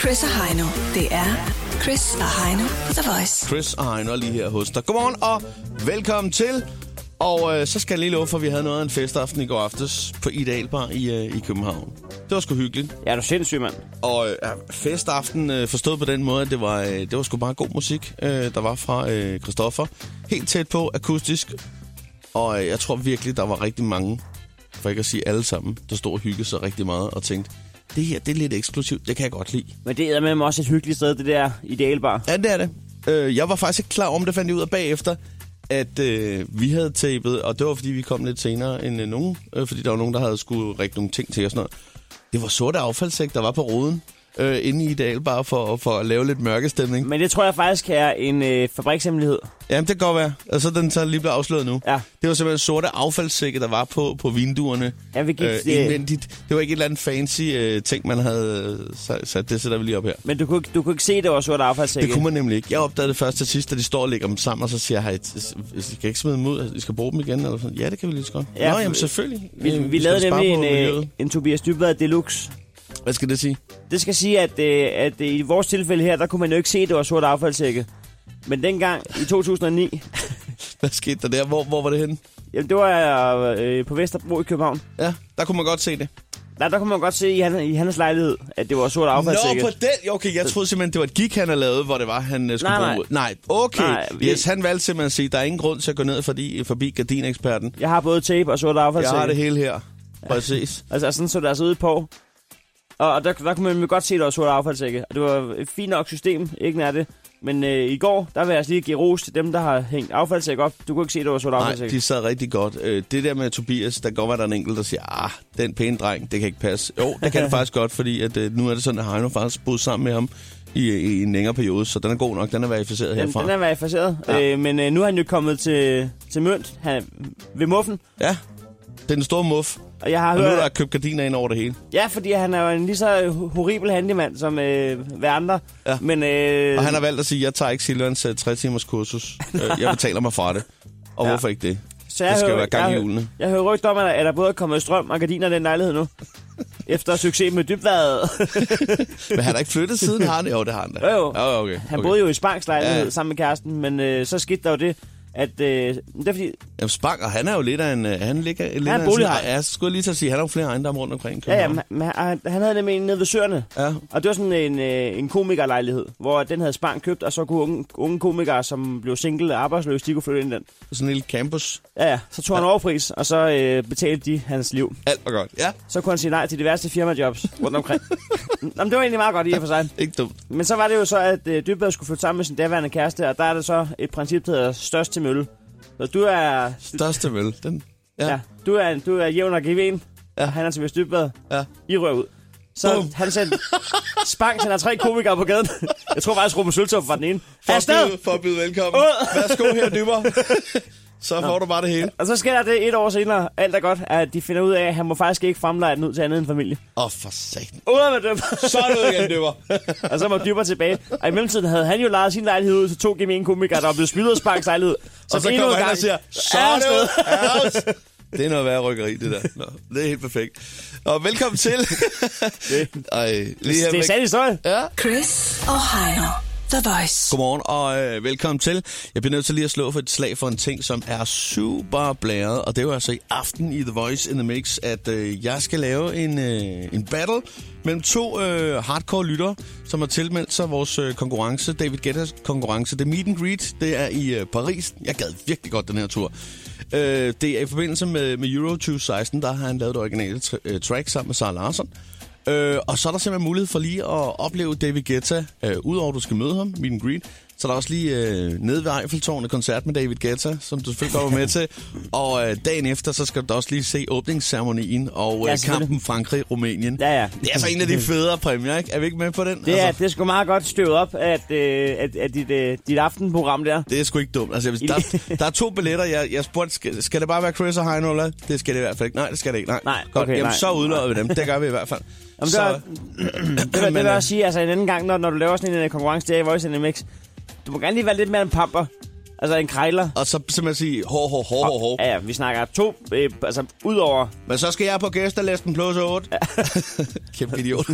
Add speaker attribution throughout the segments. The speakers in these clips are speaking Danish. Speaker 1: Chris og Heino. Det er Chris og Heino på The Voice.
Speaker 2: Chris og Heino er lige her hos dig. Godmorgen og velkommen til. Og øh, så skal jeg lige love for, at vi havde noget af en festaften i går aftes på Ideal Bar i, øh, i København. Det var sgu hyggeligt.
Speaker 3: Ja, er du sindssyg, mand?
Speaker 2: Og øh, festaften øh, forstået på den måde, at det var, øh, det var sgu bare god musik, øh, der var fra øh, Christoffer. Helt tæt på, akustisk. Og øh, jeg tror virkelig, der var rigtig mange, for ikke at sige alle sammen, der stod og hyggede sig rigtig meget og tænkte, det her, det er lidt eksklusivt, det kan jeg godt lide.
Speaker 3: Men det er med også et hyggeligt sted, det der idealbar.
Speaker 2: Ja, det er det. Øh, jeg var faktisk ikke klar om det, fandt jeg ud af bagefter, at øh, vi havde tapet, og det var fordi, vi kom lidt senere end øh, nogen, øh, fordi der var nogen, der havde skulle række nogle ting til og sådan noget. Det var sorte affaldssæk, der var på roden øh, inde i Idal, bare for, for at lave lidt mørkestemning.
Speaker 3: Men det tror jeg faktisk er en øh, fabrikshemmelighed.
Speaker 2: Jamen, det kan godt være. Og så er den så lige blevet afsløret nu.
Speaker 3: Ja.
Speaker 2: Det var simpelthen sorte affaldssække, der var på, på vinduerne.
Speaker 3: Ja, vi gik,
Speaker 2: øh,
Speaker 3: øh,
Speaker 2: indvendigt. Det var ikke et eller andet fancy øh, ting, man havde øh, sat. sat. Det sætter vi lige op her.
Speaker 3: Men du kunne, ikke- du kunne ikke se, det var sort affaldssække.
Speaker 2: Det kunne man nemlig ikke. Jeg opdagede det først til sidst, da de står og lægger dem sammen, og så siger jeg, hey, I skal ikke smide dem ud, Altså, I skal bruge dem igen, eller sådan. Ja, det kan vi lige så godt. Ja,
Speaker 3: Ja,
Speaker 2: Nå,
Speaker 3: for-
Speaker 2: jamen selvfølgelig.
Speaker 3: Vi,
Speaker 2: Øh,
Speaker 3: vi
Speaker 2: skal
Speaker 3: lavede
Speaker 2: spare
Speaker 3: nemlig
Speaker 2: på
Speaker 3: en, øh,
Speaker 2: miljøet.
Speaker 3: en Tobias Dybvad Deluxe.
Speaker 2: Hvad skal det sige?
Speaker 3: Det skal sige, at, øh, at øh, i vores tilfælde her, der kunne man jo ikke se, det var sort affaldssække. Men dengang i 2009,
Speaker 2: Hvad skete der der? Hvor, hvor var det henne?
Speaker 3: jamen, det var øh, på Vesterbro i København.
Speaker 2: Ja, der kunne man godt se det.
Speaker 3: Der, der kunne man godt se i, han, i hans lejlighed, at det var sort affaldssække.
Speaker 2: Nå, på den. Jo, Okay, jeg troede simpelthen, det var et gig, han havde lavet, hvor det var, han øh, skulle
Speaker 3: Nej,
Speaker 2: bruge
Speaker 3: nej.
Speaker 2: ud. Nej, okay. Nej,
Speaker 3: Nej, vi-
Speaker 2: Yes, han valgte simpelthen at sige, der er ingen grund til at gå ned forbi, forbi gardineksperten.
Speaker 3: Jeg har både tape og sort
Speaker 2: Jeg
Speaker 3: affaldssække.
Speaker 2: har det hele her. Præcis.
Speaker 3: Altså, sådan så der altså ud på. Og, og der, der kunne man jo godt se, at der var sort affaldssække. Og det var et fint nok system, ikke nær det. Men øh, i går, der vil jeg altså lige give ros til dem, der har hængt affaldssække op. Du kunne ikke se, at der var sort
Speaker 2: Nej,
Speaker 3: affaldssække.
Speaker 2: de sad rigtig godt. Øh, Det der med Tobias, der kan godt være, der er en enkelt, der siger, ah, den pæne dreng, det kan ikke passe. Jo, det kan det faktisk godt, fordi at, øh, nu er det sådan, at Heino faktisk boet sammen med ham i, i en længere periode, så den er god nok, den er verificeret
Speaker 3: Den,
Speaker 2: herfra.
Speaker 3: den er verificeret.
Speaker 2: Ja.
Speaker 3: Ja. Øh, men øh, nu er han jo kommet til, til Mønt han, ved Muffen.
Speaker 2: Ja, det er den store muff,
Speaker 3: Og jeg har
Speaker 2: og nu er
Speaker 3: hørt...
Speaker 2: der købt gardiner ind over det hele.
Speaker 3: Ja, fordi han er jo en lige så horribel handyman som øh, hver andre.
Speaker 2: Ja.
Speaker 3: Men, øh,
Speaker 2: Og han har valgt at sige, jeg tager ikke Silvans 3-timers kursus, Øh, jeg betaler mig fra det. Og
Speaker 3: Ja.
Speaker 2: hvorfor ikke det?
Speaker 3: så
Speaker 2: Det skal jo
Speaker 3: hører-
Speaker 2: være gang i
Speaker 3: jeg-
Speaker 2: hjulene.
Speaker 3: Jeg hører rygt om, at der- at der både er kommet strøm og gardiner i den lejlighed nu. Efter succes med dybværet.
Speaker 2: Men han har ikke flyttet siden, har han? Jo, det har han da.
Speaker 3: Jo, jo.
Speaker 2: Ja, okay.
Speaker 3: Han
Speaker 2: okay.
Speaker 3: boede jo i Spangs lejlighed
Speaker 2: Ja.
Speaker 3: ja. sammen med kæresten, men øh, så skete der jo det, at... Øh, det er fordi,
Speaker 2: Jamen, Spang, og han er jo lidt af en... øh, Han ligger, lidt
Speaker 3: er
Speaker 2: af
Speaker 3: en
Speaker 2: sådan-
Speaker 3: bolighaj.
Speaker 2: Ja, så skulle jeg lige til at sige, han har jo flere ejendomme rundt omkring. i
Speaker 3: ja, ja,
Speaker 2: København.
Speaker 3: men, men han, han havde nemlig en nede ved Søerne,
Speaker 2: Ja,
Speaker 3: og det var sådan en, øh, en komikerlejlighed, hvor den havde Spang købt, og så kunne unge, unge komikere, som blev single og arbejdsløse, de kunne flytte ind i den.
Speaker 2: sådan en lille campus.
Speaker 3: Ja, ja, så tog han overpris, og så øh, betalte de hans liv.
Speaker 2: Alt var godt. Ja,
Speaker 3: Så kunne han sige nej til diverse firmajobs rundt omkring. Nå, men det var egentlig meget godt i og for sig.
Speaker 2: ikke dumt.
Speaker 3: Men så var det jo så, at øh, Dybvad skulle flytte sammen med sin daværende kæreste, og der er det så et princip, der hedder størst til mølle. Så du er
Speaker 2: Største vel. Den. Ja.
Speaker 3: Ja. ja. Du er, du er jævn og given.
Speaker 2: Ja.
Speaker 3: Ja. Han er til Vestybad.
Speaker 2: Ja.
Speaker 3: I rører ud. Så
Speaker 2: Bum.
Speaker 3: Boom. han sendte Spang sender tre komikere på gaden. Jeg tror faktisk, Ruben Søltoff var den ene. Afsted!
Speaker 2: for at byde velkommen. Værsgo her, dyber. Så får du bare det hele.
Speaker 3: Og så sker der det et år senere, alt er godt, at de finder ud af, at han må faktisk ikke fremleje den ud til andet end familie.
Speaker 2: Åh, oh, for satan.
Speaker 3: Ud med dem!
Speaker 2: Så er du igen, dyber.
Speaker 3: og så må dyber tilbage. Og i mellemtiden havde han jo lejet sin lejlighed ud til to gemene komikere, der blev smidt ud af Spangs lejlighed.
Speaker 2: Og så
Speaker 3: endnu
Speaker 2: kommer
Speaker 3: en
Speaker 2: han
Speaker 3: gang
Speaker 2: og siger, så
Speaker 3: er
Speaker 2: er
Speaker 3: afsted.
Speaker 2: du out. Det er noget værre rykkeri, det der. Nå, det er helt perfekt. Og velkommen til. Ej, lige
Speaker 3: Det
Speaker 2: her
Speaker 3: er
Speaker 2: væk.
Speaker 3: sandt historie.
Speaker 2: Ja.
Speaker 1: Chris og Heino. The Voice.
Speaker 2: Godmorgen og øh, velkommen til. Jeg bliver nødt til lige at slå for et slag for en ting, som er super blæret, og det er jo altså i aften i The Voice in the Mix, at øh, jeg skal lave en, øh, en battle mellem to øh, hardcore lyttere, som har tilmeldt sig vores øh, konkurrence, David Guetta's konkurrence. Det er Meet and Greet, det er i øh, Paris. Jeg gad virkelig godt den her tur. Øh, det er i forbindelse med, med Euro 2016, der har han lavet det originale tr- øh, track sammen med Sara Larsson. Øh, og så er der simpelthen mulighed for lige at opleve David Guetta, øh, udover at du skal møde ham, meet and greet. Så er der også lige øh, nede ved Eiffeltårnet koncert med David Guetta, som du selvfølgelig kommer med til. Og øh, dagen efter, så skal du da også lige se åbningsceremonien og
Speaker 3: Ja,
Speaker 2: øh,
Speaker 3: selvfølgelig.
Speaker 2: kampen Frankrig-Rumænien.
Speaker 3: Ja, ja.
Speaker 2: Det er altså en af de federe præmier, ikke? Er vi ikke med på den?
Speaker 3: Det er,
Speaker 2: altså,
Speaker 3: det er sgu meget godt støvet op, at, øh, at, at dit, øh, dit aftenprogram der.
Speaker 2: det er sgu ikke dumt. Altså, jeg vil- der, der er to billetter. Jeg, jeg spurgte, skal, skal det bare være Chris og Heino, eller? Det skal det i hvert fald ikke. Nej, det skal det ikke. Nej,
Speaker 3: Nej,
Speaker 2: Godt.
Speaker 3: okay,
Speaker 2: Jamen,
Speaker 3: nej.
Speaker 2: så udløber vi dem. Det gør vi i hvert fald.
Speaker 3: Jamen, det,
Speaker 2: så,
Speaker 3: var, det, var, det
Speaker 2: Men,
Speaker 3: vil
Speaker 2: øh,
Speaker 3: jeg også sige, altså en anden gang, når, når du laver sådan en øh, konkurrence der i Voice NMX, du må gerne lige være lidt mere en pamper. Altså en krejler.
Speaker 2: Og så simpelthen sige, hår, hår, hår, hår, hår.
Speaker 3: Ja, ja, vi snakker to, øh, altså udover...
Speaker 2: Men så skal jeg på gæsterlisten plus 8. Kæmpe idiot.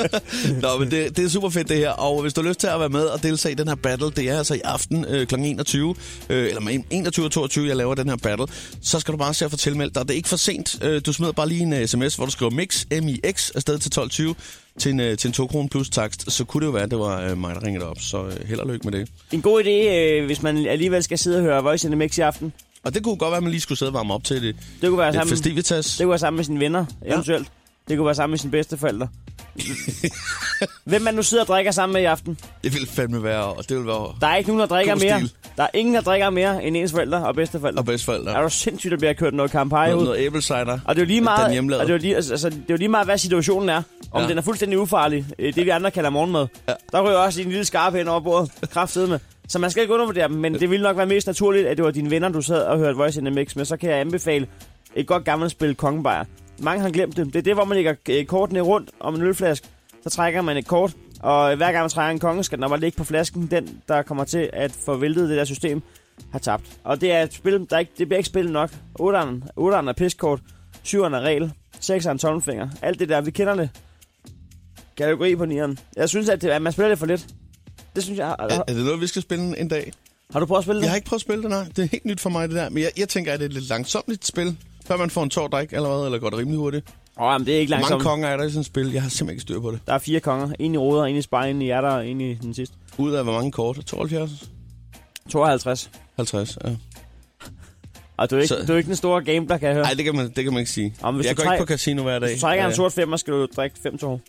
Speaker 2: Nå, men det, det er super fedt det her. Og hvis du har lyst til at være med og deltage i den her battle, det er altså i aften øh, kl. 21, øh, eller mellem 21 og 22, jeg laver den her battle, så skal du bare se at få tilmeldt dig. Det er ikke for sent. Øh, du smider bare lige en øh, sms, hvor du skriver MIX, M-I-X, afsted til 12.20 til en, øh, til en 2 kroner plus takst. Så kunne det jo være, at det var øh, mig, der ringede op. Så øh, held og lykke med det.
Speaker 3: En god idé, øh, hvis man alligevel skal sidde og høre Voice in the Mix i aften.
Speaker 2: Og det kunne godt være, at man lige skulle sidde og varme op til det.
Speaker 3: Det kunne være
Speaker 2: Lidt
Speaker 3: sammen, det
Speaker 2: festivitas.
Speaker 3: kunne være sammen med sine venner, eventuelt. Det kunne være sammen med sine bedsteforældre. Hvem man nu sidder og drikker sammen med i aften.
Speaker 2: Det ville fandme være, og det ville være...
Speaker 3: Der er ikke nogen, der drikker
Speaker 2: God
Speaker 3: mere.
Speaker 2: stil.
Speaker 3: Der er ingen, der drikker mere end ens forældre og bedsteforældre.
Speaker 2: Og bedsteforældre.
Speaker 3: Er du sindssygt, der bliver kørt noget kampagne
Speaker 2: noget,
Speaker 3: ud?
Speaker 2: noget æblecider.
Speaker 3: Og det er jo lige
Speaker 2: Den
Speaker 3: meget,
Speaker 2: hjemmelavede.
Speaker 3: og det er jo lige, altså, altså, det er jo lige meget, hvad situationen er. Om
Speaker 2: Ja.
Speaker 3: ja. den er fuldstændig ufarlig, øh, det vi andre kalder morgenmad. Ja. Der ryger også lige en lille skarp hen over bordet, kraftedet med. Så man skal ikke undervurdere dem, men det ville nok være mest naturligt, at det var dine venner, du sad og hørte Voice in the Mix med. Så kan jeg anbefale et godt gammelt spil Kongebajer. Mange har glemt det. Det er det, hvor man lægger øh, kortene rundt om en ølflaske. Så trækker man et kort, og hver gang man trækker en konge, skal den bare ligge på flasken. Den, der kommer til at få væltet det der system, har tabt. Og det er et spil, der ikke, det bliver ikke spillet nok. 8'eren, 8'eren er piskort, 7'eren er regel, 6'eren er tommelfinger. Alt det der, vi kender det. Kategori på 9'eren. Jeg synes, at, det, at man spiller det for lidt. Det synes jeg. Har,
Speaker 2: Er, er det noget, vi skal spille en- en dag?
Speaker 3: har du prøvet at spille det?
Speaker 2: Jeg har ikke prøvet at spille det, nej. Det er helt nyt for mig, det der. Men jeg, jeg tænker, at det er et lidt langsomt spil. Før man får en tår drik allerede, eller går det rimelig hurtigt. Hvor
Speaker 3: Åh, men det er ikke
Speaker 2: mange
Speaker 3: langsomt.
Speaker 2: konger er der i sådan et spil? Jeg har simpelthen ikke styr på det.
Speaker 3: Der er fire konger. En i roder, en i spejl, en i hjerter og en i den sidste.
Speaker 2: Ud af hvor mange kort? 72?
Speaker 3: 52.
Speaker 2: 50? Ja.
Speaker 3: Og du er ikke,
Speaker 2: Så-
Speaker 3: du er ikke den store gambler, kan jeg høre.
Speaker 2: Ej, det kan man, det kan man ikke sige.
Speaker 3: Om hvis
Speaker 2: jeg
Speaker 3: du
Speaker 2: går ikke
Speaker 3: træk-
Speaker 2: på casino hver dag.
Speaker 3: Hvis du trækker
Speaker 2: Ja.
Speaker 3: en sort femmer, skal du drikke fem tår.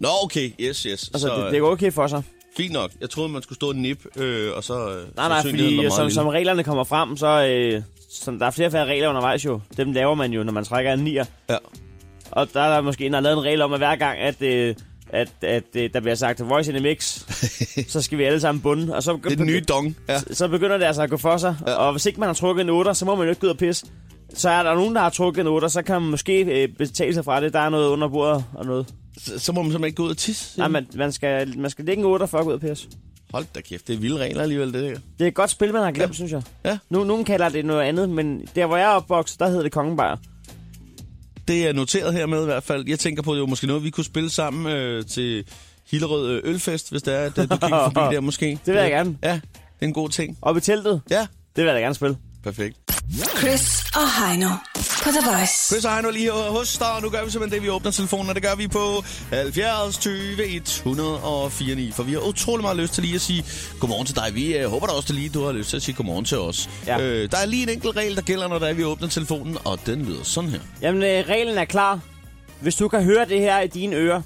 Speaker 2: Nå, okay. Yes, yes.
Speaker 3: Altså,
Speaker 2: så, øh,
Speaker 3: det, det, er okay for sig.
Speaker 2: Fint nok. Jeg troede, man skulle stå og nip, øh, og så... øh,
Speaker 3: Nej, nej,
Speaker 2: sandsynligheden var
Speaker 3: fordi
Speaker 2: meget
Speaker 3: som,
Speaker 2: lille.
Speaker 3: som reglerne kommer frem, så øh, som der er flere og flere regler undervejs jo. Dem laver man jo, når man trækker en nier.
Speaker 2: Ja.
Speaker 3: Og der er der måske en, der har lavet en regel om, at hver gang, at, øh, at, at øh, der bliver sagt voice in the mix, så skal vi alle sammen bunde. Og så,
Speaker 2: Det er den nye dong. Ja.
Speaker 3: så begynder det altså at gå for sig. Ja. Og hvis ikke man har trukket en 8, så må man jo ikke gå ud og pisse. Så er der nogen, der har trukket en 8, så kan man måske øh, betale sig fra det. Der er noget under bordet og noget.
Speaker 2: Så, så må man simpelthen ikke gå ud og tisse.
Speaker 3: Nej, man, man, skal, man skal lægge en 8 for at gå ud og pisse.
Speaker 2: Hold da kæft, det er vilde regler alligevel, det der.
Speaker 3: Det er et godt spil, man har glemt, ja. synes jeg.
Speaker 2: Ja.
Speaker 3: Nu, nogen kalder det noget andet, men der, hvor jeg er opvokset, der hedder det kongebajer.
Speaker 2: Det er noteret her med i hvert fald. Jeg tænker på, at det var måske noget, vi kunne spille sammen øh, til Hillerød øh, Ølfest, hvis det er, at øh, du kigger forbi der måske. Det
Speaker 3: vil jeg gerne.
Speaker 2: Ja, det er en god ting.
Speaker 3: Op i teltet,
Speaker 2: Ja,
Speaker 3: det vil jeg da gerne spille.
Speaker 2: perfekt.
Speaker 1: Chris og Heino på The Voice.
Speaker 2: Chris og Heino lige her hos dig, og nu gør vi simpelthen det, vi åbner telefonen, og det gør vi på 70 20 104 9, for vi har utrolig meget lyst til lige at sige godmorgen til dig. Vi øh, håber da også, at lige, du har lyst til at sige godmorgen til os.
Speaker 3: Ja.
Speaker 2: Øh, der er lige en enkelt regel, der gælder, når det er, vi åbner telefonen, og den lyder sådan her.
Speaker 3: Jamen, øh, reglen er klar. Hvis du kan høre det her i dine ører,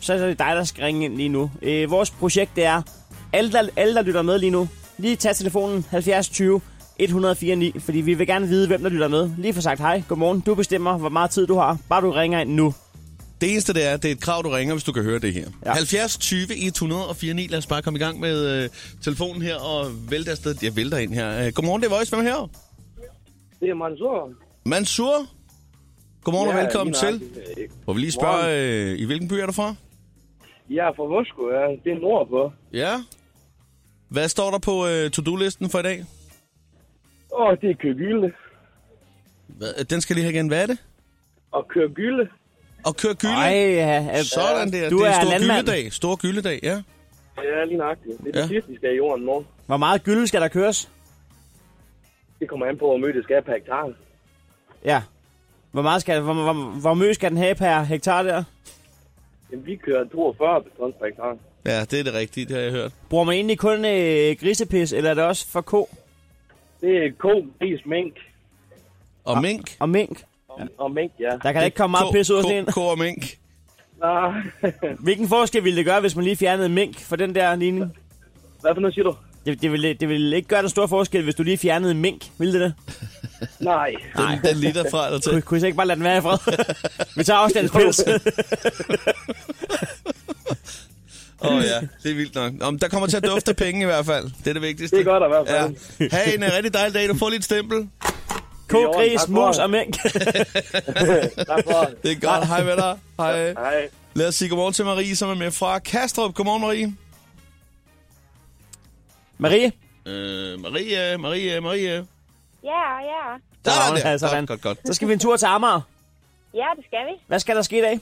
Speaker 3: så er det dig, der skal ringe ind lige nu. Øh, vores projekt det er, alle der, alle der lytter med lige nu, lige tag telefonen 70 20 1049, fordi vi vil gerne vide, hvem der lytter med. Lige for sagt hej, godmorgen, du bestemmer, hvor meget tid du har. Bare du ringer ind nu.
Speaker 2: Det eneste det er, det er et krav, du ringer, hvis du kan høre det her. Ja.
Speaker 3: Ja.
Speaker 2: 70 20 104 9. Lad os bare komme i gang med øh, telefonen her og vælte afsted. Jeg vælter ind her. Øh, godmorgen, det er Voice. Hvem er her?
Speaker 4: Det er Mansour.
Speaker 2: Mansur? Godmorgen ja, og velkommen
Speaker 4: lige
Speaker 2: til.
Speaker 4: nøjagtigt. Øh,
Speaker 2: Hvor vi lige spørger, øh, i hvilken by er du fra?
Speaker 4: Jeg er fra Vosko, ja. Det er nordpå.
Speaker 2: Ja. Hvad står der på øh, to-do-listen for i dag?
Speaker 4: Og det er kørgylde.
Speaker 2: Hvad? øh, Den skal lige have igen. Hvad er det?
Speaker 4: Og kørgylde.
Speaker 2: Og køre gylde.
Speaker 3: Ej, ja, øh,
Speaker 2: Sådan der.
Speaker 3: Du
Speaker 2: det er,
Speaker 3: er
Speaker 2: stor
Speaker 3: landmand.
Speaker 2: gyldedag. Stor gyldedag, ja.
Speaker 4: Ja, lige nøjagtigt. Det er
Speaker 2: Ja.
Speaker 4: det sidste, vi skal i jorden nu.
Speaker 3: Hvor meget gylde skal der køres?
Speaker 4: Det kommer an på, hvor mødet skal per hektar.
Speaker 3: Ja. Hvor meget skal, hvor, hvor, hvor mø skal den have per hektar der?
Speaker 4: Jamen, vi kører 42 tons per hektar.
Speaker 2: Ja, det er det rigtige, det har jeg hørt.
Speaker 3: Bruger man egentlig kun øh, grisepis, eller er det også for ko
Speaker 4: Det er ko, gris, mink
Speaker 2: Og mink.
Speaker 3: og mink?
Speaker 4: og mink, ja.
Speaker 3: Der kan da Ah. ikke komme meget pis ud af sådan en.
Speaker 2: ko, ko og mink.
Speaker 4: Ah,
Speaker 3: Hvilken forskel ville det gøre, hvis man lige fjernede mink fra den der ligning?
Speaker 4: Hvad for noget siger du?
Speaker 3: Det, det, ville, det ville ikke gøre den store forskel, hvis du lige fjernede mink. Ville det det?
Speaker 4: Nej.
Speaker 2: Den, den lige derfra eller
Speaker 3: Kunne,
Speaker 2: til.
Speaker 3: kunne I så ikke bare lade den være i fred? Vi tager også den pis.
Speaker 2: Åh oh, ja, det er vildt nok. Om, der kommer til at dufte af penge i hvert fald. Det er det vigtigste.
Speaker 4: Det er godt i hvert fald.
Speaker 2: Ja. Ha' en øh, rigtig dejlig dag. Du får lige et stempel.
Speaker 3: Ko,
Speaker 4: Det er i orden.
Speaker 3: gris,
Speaker 4: Tak for
Speaker 3: mus
Speaker 4: det.
Speaker 3: og mink.
Speaker 4: Tak for det.
Speaker 2: Det er godt. Hej med dig. Hej.
Speaker 4: Hej.
Speaker 2: Lad os sige godmorgen til Marie, som er med fra Kastrup. Godmorgen, Marie.
Speaker 3: Marie,
Speaker 2: Øh, Maria, Maria, Maria.
Speaker 5: Ja, ja.
Speaker 2: Der
Speaker 3: var
Speaker 2: var
Speaker 3: hun,
Speaker 2: det.
Speaker 3: altså,
Speaker 2: godt,
Speaker 3: han.
Speaker 2: godt, godt.
Speaker 3: Så skal vi en tur til Amager.
Speaker 5: Ja, det skal vi.
Speaker 3: Hvad skal der ske i dag?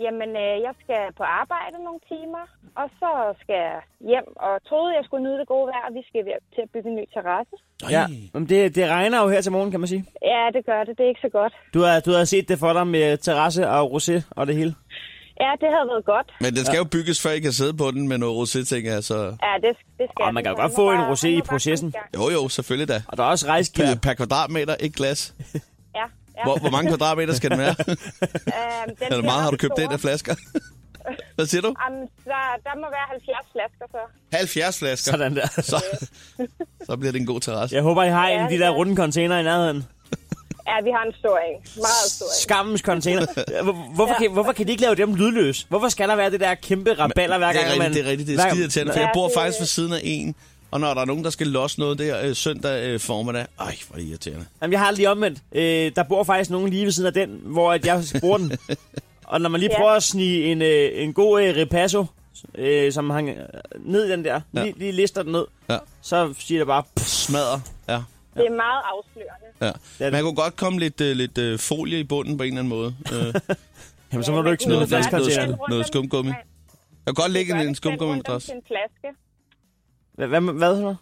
Speaker 5: Jamen, øh, jeg skal på arbejde nogle timer, og så skal jeg hjem. Og troede, jeg skulle nyde det gode vejr, og vi skal ved- til at bygge en ny terrasse.
Speaker 3: Ja. Jamen, det, det regner jo her til morgen, kan man sige.
Speaker 5: Ja, det gør det. Det er ikke så godt.
Speaker 3: Du har, du har set det for dig med terrasse og rosé og det hele.
Speaker 5: Ja, det havde været godt.
Speaker 2: Men den skal jo bygges, før I kan sidde på den med noget rosé, tænker jeg. Så...
Speaker 5: Ja, det, det skal
Speaker 3: Åh,
Speaker 5: jeg.
Speaker 3: man kan jo
Speaker 5: Han
Speaker 3: godt
Speaker 5: må
Speaker 3: få en
Speaker 5: bare-
Speaker 3: rosé
Speaker 5: han
Speaker 3: i
Speaker 5: må bare
Speaker 3: processen.
Speaker 5: komme i gang.
Speaker 2: Jo, jo, selvfølgelig da.
Speaker 3: Og der er også rejskilder.
Speaker 2: Per, per kvadratmeter, ikke glas.
Speaker 5: Ja, ja.
Speaker 2: Hvor, hvor mange kvadratmeter skal den være?
Speaker 5: Øhm, den
Speaker 2: Eller
Speaker 5: bliver
Speaker 2: meget har du
Speaker 5: ret
Speaker 2: købt den
Speaker 5: stor.
Speaker 2: af flasker? Hvad siger du?
Speaker 5: Jamen, der, der må være 70 flasker så.
Speaker 2: 70 flasker.
Speaker 3: Sådan der.
Speaker 2: Så, så bliver det en god terrasse.
Speaker 3: Jeg håber, I har en
Speaker 5: Ja,
Speaker 3: af de
Speaker 5: det
Speaker 3: der
Speaker 5: gør jeg.
Speaker 3: runde container i nærheden.
Speaker 5: Ja, vi har en stor en. Meget stor en.
Speaker 3: Skammens container. Hvor- Hvorfor, kan, hvorfor kan de ikke lave dem lydløse? Hvorfor skal der være det der kæmpe raballer hver
Speaker 2: Det
Speaker 3: gang,
Speaker 2: er rigtigt,
Speaker 3: man...
Speaker 2: det er rigtigt. Det er
Speaker 3: hver-
Speaker 2: skide tændt, for
Speaker 5: Ja,
Speaker 2: jeg bor
Speaker 5: det-
Speaker 2: faktisk ved siden af en. Og når der er nogen, der skal losse noget der øh, søndag øh, formiddag, ej, hvor er det irriterende.
Speaker 3: Jamen, jeg har lige omvendt. Øh, der bor faktisk nogen lige ved siden af den, hvor at jeg bruger den. Og når man lige
Speaker 5: Ja.
Speaker 3: prøver at snige en, øh, en god øh, repasso, øh, som hang øh, ned i den der,
Speaker 2: Ja.
Speaker 3: ja. lige, lige lister den ned,
Speaker 2: Ja.
Speaker 3: så siger det bare... Pff,
Speaker 2: Smadrer. Ja.
Speaker 5: Det er meget afslørende.
Speaker 2: Ja.
Speaker 3: det.
Speaker 2: Man kunne godt komme lidt, øh, lidt øh, folie i bunden på en eller anden måde. Øh,
Speaker 3: jamen, så må du ikke smide
Speaker 2: noget-
Speaker 3: den flaske
Speaker 2: noget-
Speaker 3: container.
Speaker 2: noget- noget skumgummi. jeg kunne godt lægge en, en skumgummi-madras.
Speaker 5: til en flaske.
Speaker 3: Hvad, hvad, hvad så?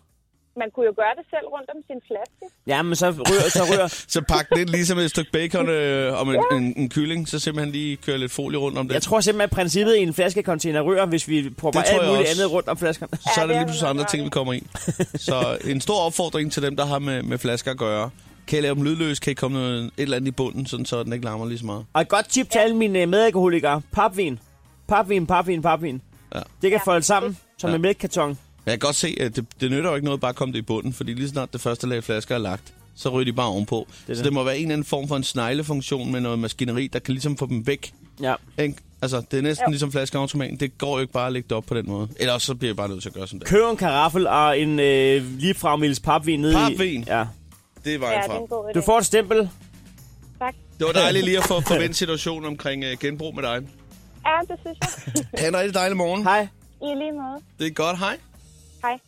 Speaker 5: Man kunne jo gøre det selv rundt om sin flaske.
Speaker 3: Jamen, så rører, så rører.
Speaker 2: Så pak den ind ligesom et stykke bacon øh, om en, en, en kylling, så simpelthen lige køre lidt folie rundt om det.
Speaker 3: Jeg tror simpelthen, at princippet i en flaskecontainer rører, hvis vi propper
Speaker 2: Det tror
Speaker 3: alt
Speaker 2: jeg
Speaker 3: muligt
Speaker 2: også.
Speaker 3: andet rundt om flaskerne.
Speaker 2: så er
Speaker 5: Ja,
Speaker 2: det
Speaker 5: det er
Speaker 2: lige
Speaker 5: du
Speaker 2: pludselig
Speaker 5: nok
Speaker 2: andre
Speaker 5: ret
Speaker 2: ting,
Speaker 5: i.
Speaker 2: vi kommer i. Så en stor opfordring til dem, der har med, med flasker at gøre. Kan I lave dem lydløse? Kan I komme noget, et eller andet i bunden, sådan, så den ikke larmer lige så meget?
Speaker 3: Og et godt tip til alle mine øh, medalkoholikere. Papvin. Papvin, papvin, papvin.
Speaker 2: Ja.
Speaker 3: Ja. Det kan folde sammen som
Speaker 2: Ja.
Speaker 3: ja. en mælkekarton.
Speaker 2: Men jeg kan godt se, at det, det nytter jo ikke noget bare at komme det i bunden, fordi lige snart det første lag flasker er lagt, så ryger de bare ovenpå. Det
Speaker 3: det.
Speaker 2: så det må være en eller anden form for en sneglefunktion med noget maskineri, der kan ligesom få dem væk.
Speaker 3: Ja.
Speaker 2: Ikke? Altså, det er næsten jo.
Speaker 5: Jo.
Speaker 2: ligesom flaskeautomaten. Det går jo ikke bare at lægge det op på den måde. Ellers så bliver jeg bare nødt til at gøre sådan der.
Speaker 3: Køb en karaffel og en øh, ligefragmils papvin ned
Speaker 2: Papvin?
Speaker 3: i. Ja.
Speaker 2: Det er
Speaker 5: Ja,
Speaker 2: vejen
Speaker 5: det er en
Speaker 2: fra.
Speaker 5: god idé.
Speaker 3: Du får et stempel.
Speaker 5: Tak.
Speaker 2: Det var dejligt lige at få forvendt situationen omkring uh, genbrug med dig.
Speaker 5: Ja, det synes jeg.
Speaker 2: Ha' en rigtig dejlig morgen.
Speaker 3: Hej.
Speaker 5: I lige måde.
Speaker 2: Det er godt. Hej.
Speaker 5: Hej.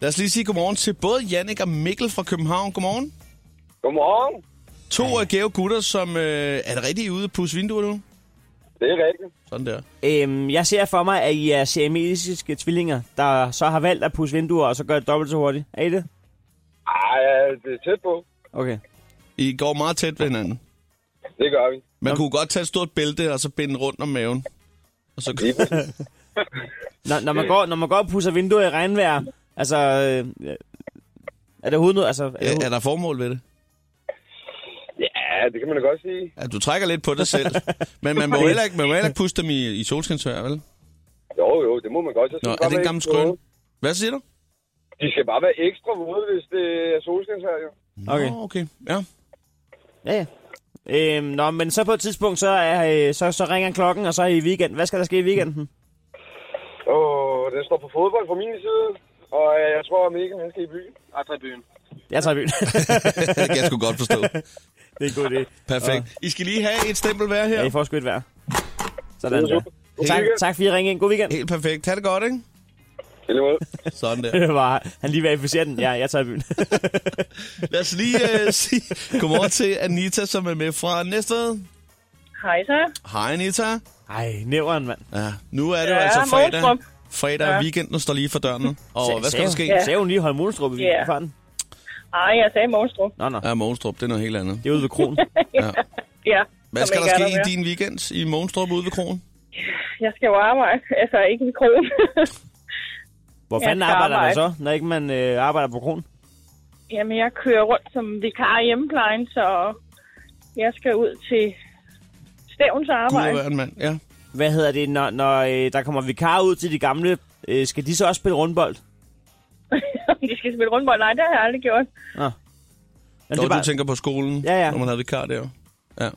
Speaker 2: Lad os lige sige godmorgen til både Jannik og Mikkel fra København. Godmorgen.
Speaker 4: Godmorgen.
Speaker 2: To af gave gutter, som øh, er det rigtigt ude på vinduer nu.
Speaker 4: Det er rigtigt.
Speaker 2: Sådan der.
Speaker 3: Øhm, jeg ser for mig, at I er siamesiske tvillinger, der så har valgt at pusse vinduer, og så gør det dobbelt så hurtigt. Er I det?
Speaker 4: Ej, det er tæt på.
Speaker 3: Okay.
Speaker 2: I går meget tæt ved hinanden.
Speaker 4: Det gør vi.
Speaker 2: Man kunne godt tage et stort bælte og så binde rundt om maven. Og så,
Speaker 3: Når,
Speaker 2: Øh.
Speaker 3: når, man, går, når man går og pusser vinduer i regnvejr, altså... Øh, øh, er det overhovedet noget? Altså, er det,
Speaker 2: er,
Speaker 3: overhovedet-
Speaker 2: er der formål ved det?
Speaker 4: Ja, det kan man da godt sige.
Speaker 2: Ja, du trækker lidt på det selv. Men man må heller ikke, man må heller ikke puste dem i, i solskinsvær, vel?
Speaker 4: Jo, jo, det må man godt. Så skal
Speaker 2: Nå,
Speaker 4: de
Speaker 2: er
Speaker 4: bare
Speaker 2: det en
Speaker 4: være
Speaker 2: gammel
Speaker 4: ekstra
Speaker 2: skrøn?
Speaker 4: våde.
Speaker 2: Hvad siger du?
Speaker 4: De skal bare være ekstra våde, hvis det er solskinsvær, jo.
Speaker 3: Okay.
Speaker 2: Nå, okay. Ja.
Speaker 3: Ja, ja. Øhm, nå, men så på et tidspunkt, så, er, øh, så, så ringer klokken, og så er I i weekend. Hvad skal der ske i weekenden?
Speaker 4: Åh, den står på fodbold fra min side. Og øh, jeg tror, at Mikkel, han skal i byen. Jeg tager i byen.
Speaker 3: Jeg tager i byen.
Speaker 2: Det kan jeg sgu godt forstå.
Speaker 3: det er en god idé.
Speaker 2: Perfekt. I skal lige have et stempel hver
Speaker 3: Ja, I
Speaker 2: her.
Speaker 3: får sgu et vær. Sådan der. Tak, tak for at I ringede. God weekend.
Speaker 2: Helt perfekt. Ha' det godt, ikke?
Speaker 4: Tak.
Speaker 2: Sådan der.
Speaker 3: Det var, han lige verificerer den. Ja, jeg tager i byen.
Speaker 2: Lad os lige øh, sige godmorgen til Anita, som er med fra Næstved.
Speaker 6: Hej så.
Speaker 2: Hej Anita.
Speaker 3: Ej, nævren, mand.
Speaker 2: Ja, nu er det jo
Speaker 6: Ja,
Speaker 2: altså fredag.
Speaker 6: Målstrup.
Speaker 2: Fredag og weekenden står lige for døren. nu. Og
Speaker 3: Sagde-
Speaker 2: hvad skal
Speaker 3: sagde
Speaker 2: der
Speaker 3: hun-
Speaker 2: ske?
Speaker 6: Ja.
Speaker 3: Sagde hun lige Holm Molestrup i
Speaker 6: Ja.
Speaker 3: yeah.
Speaker 6: Ej, jeg sagde Morgenstrup.
Speaker 3: Nå, nå.
Speaker 2: Ja, Mogenstrup, det er noget helt andet.
Speaker 3: Det er ude ved kronen.
Speaker 6: Ja.
Speaker 2: Hvad
Speaker 6: som
Speaker 2: skal der
Speaker 6: ikke er
Speaker 2: ske i
Speaker 6: mere.
Speaker 2: din weekend i Mogenstrup ude ved krogen?
Speaker 6: Jeg skal jo arbejde. Altså, ikke i krogen.
Speaker 3: Hvor
Speaker 6: Ja,
Speaker 3: fanden
Speaker 6: skal
Speaker 3: arbejder man
Speaker 6: arbejde.
Speaker 3: så, når ikke man øh, arbejder på kronen?
Speaker 6: Jamen, jeg kører rundt som vikar i hjemmeplejen, så jeg skal ud til Stævns
Speaker 2: Gud
Speaker 6: arbejde.
Speaker 2: og verden, mand. Ja.
Speaker 3: Hvad hedder det, når, når øh, der kommer vikarer ud til de gamle? Øh, skal de så også spille rundbold?
Speaker 6: De skal spille rundbold. Nej, det har jeg aldrig gjort.
Speaker 3: Men
Speaker 2: Når du tænker på skolen,
Speaker 3: Ja, ja.
Speaker 2: når man havde vikar der. Ja.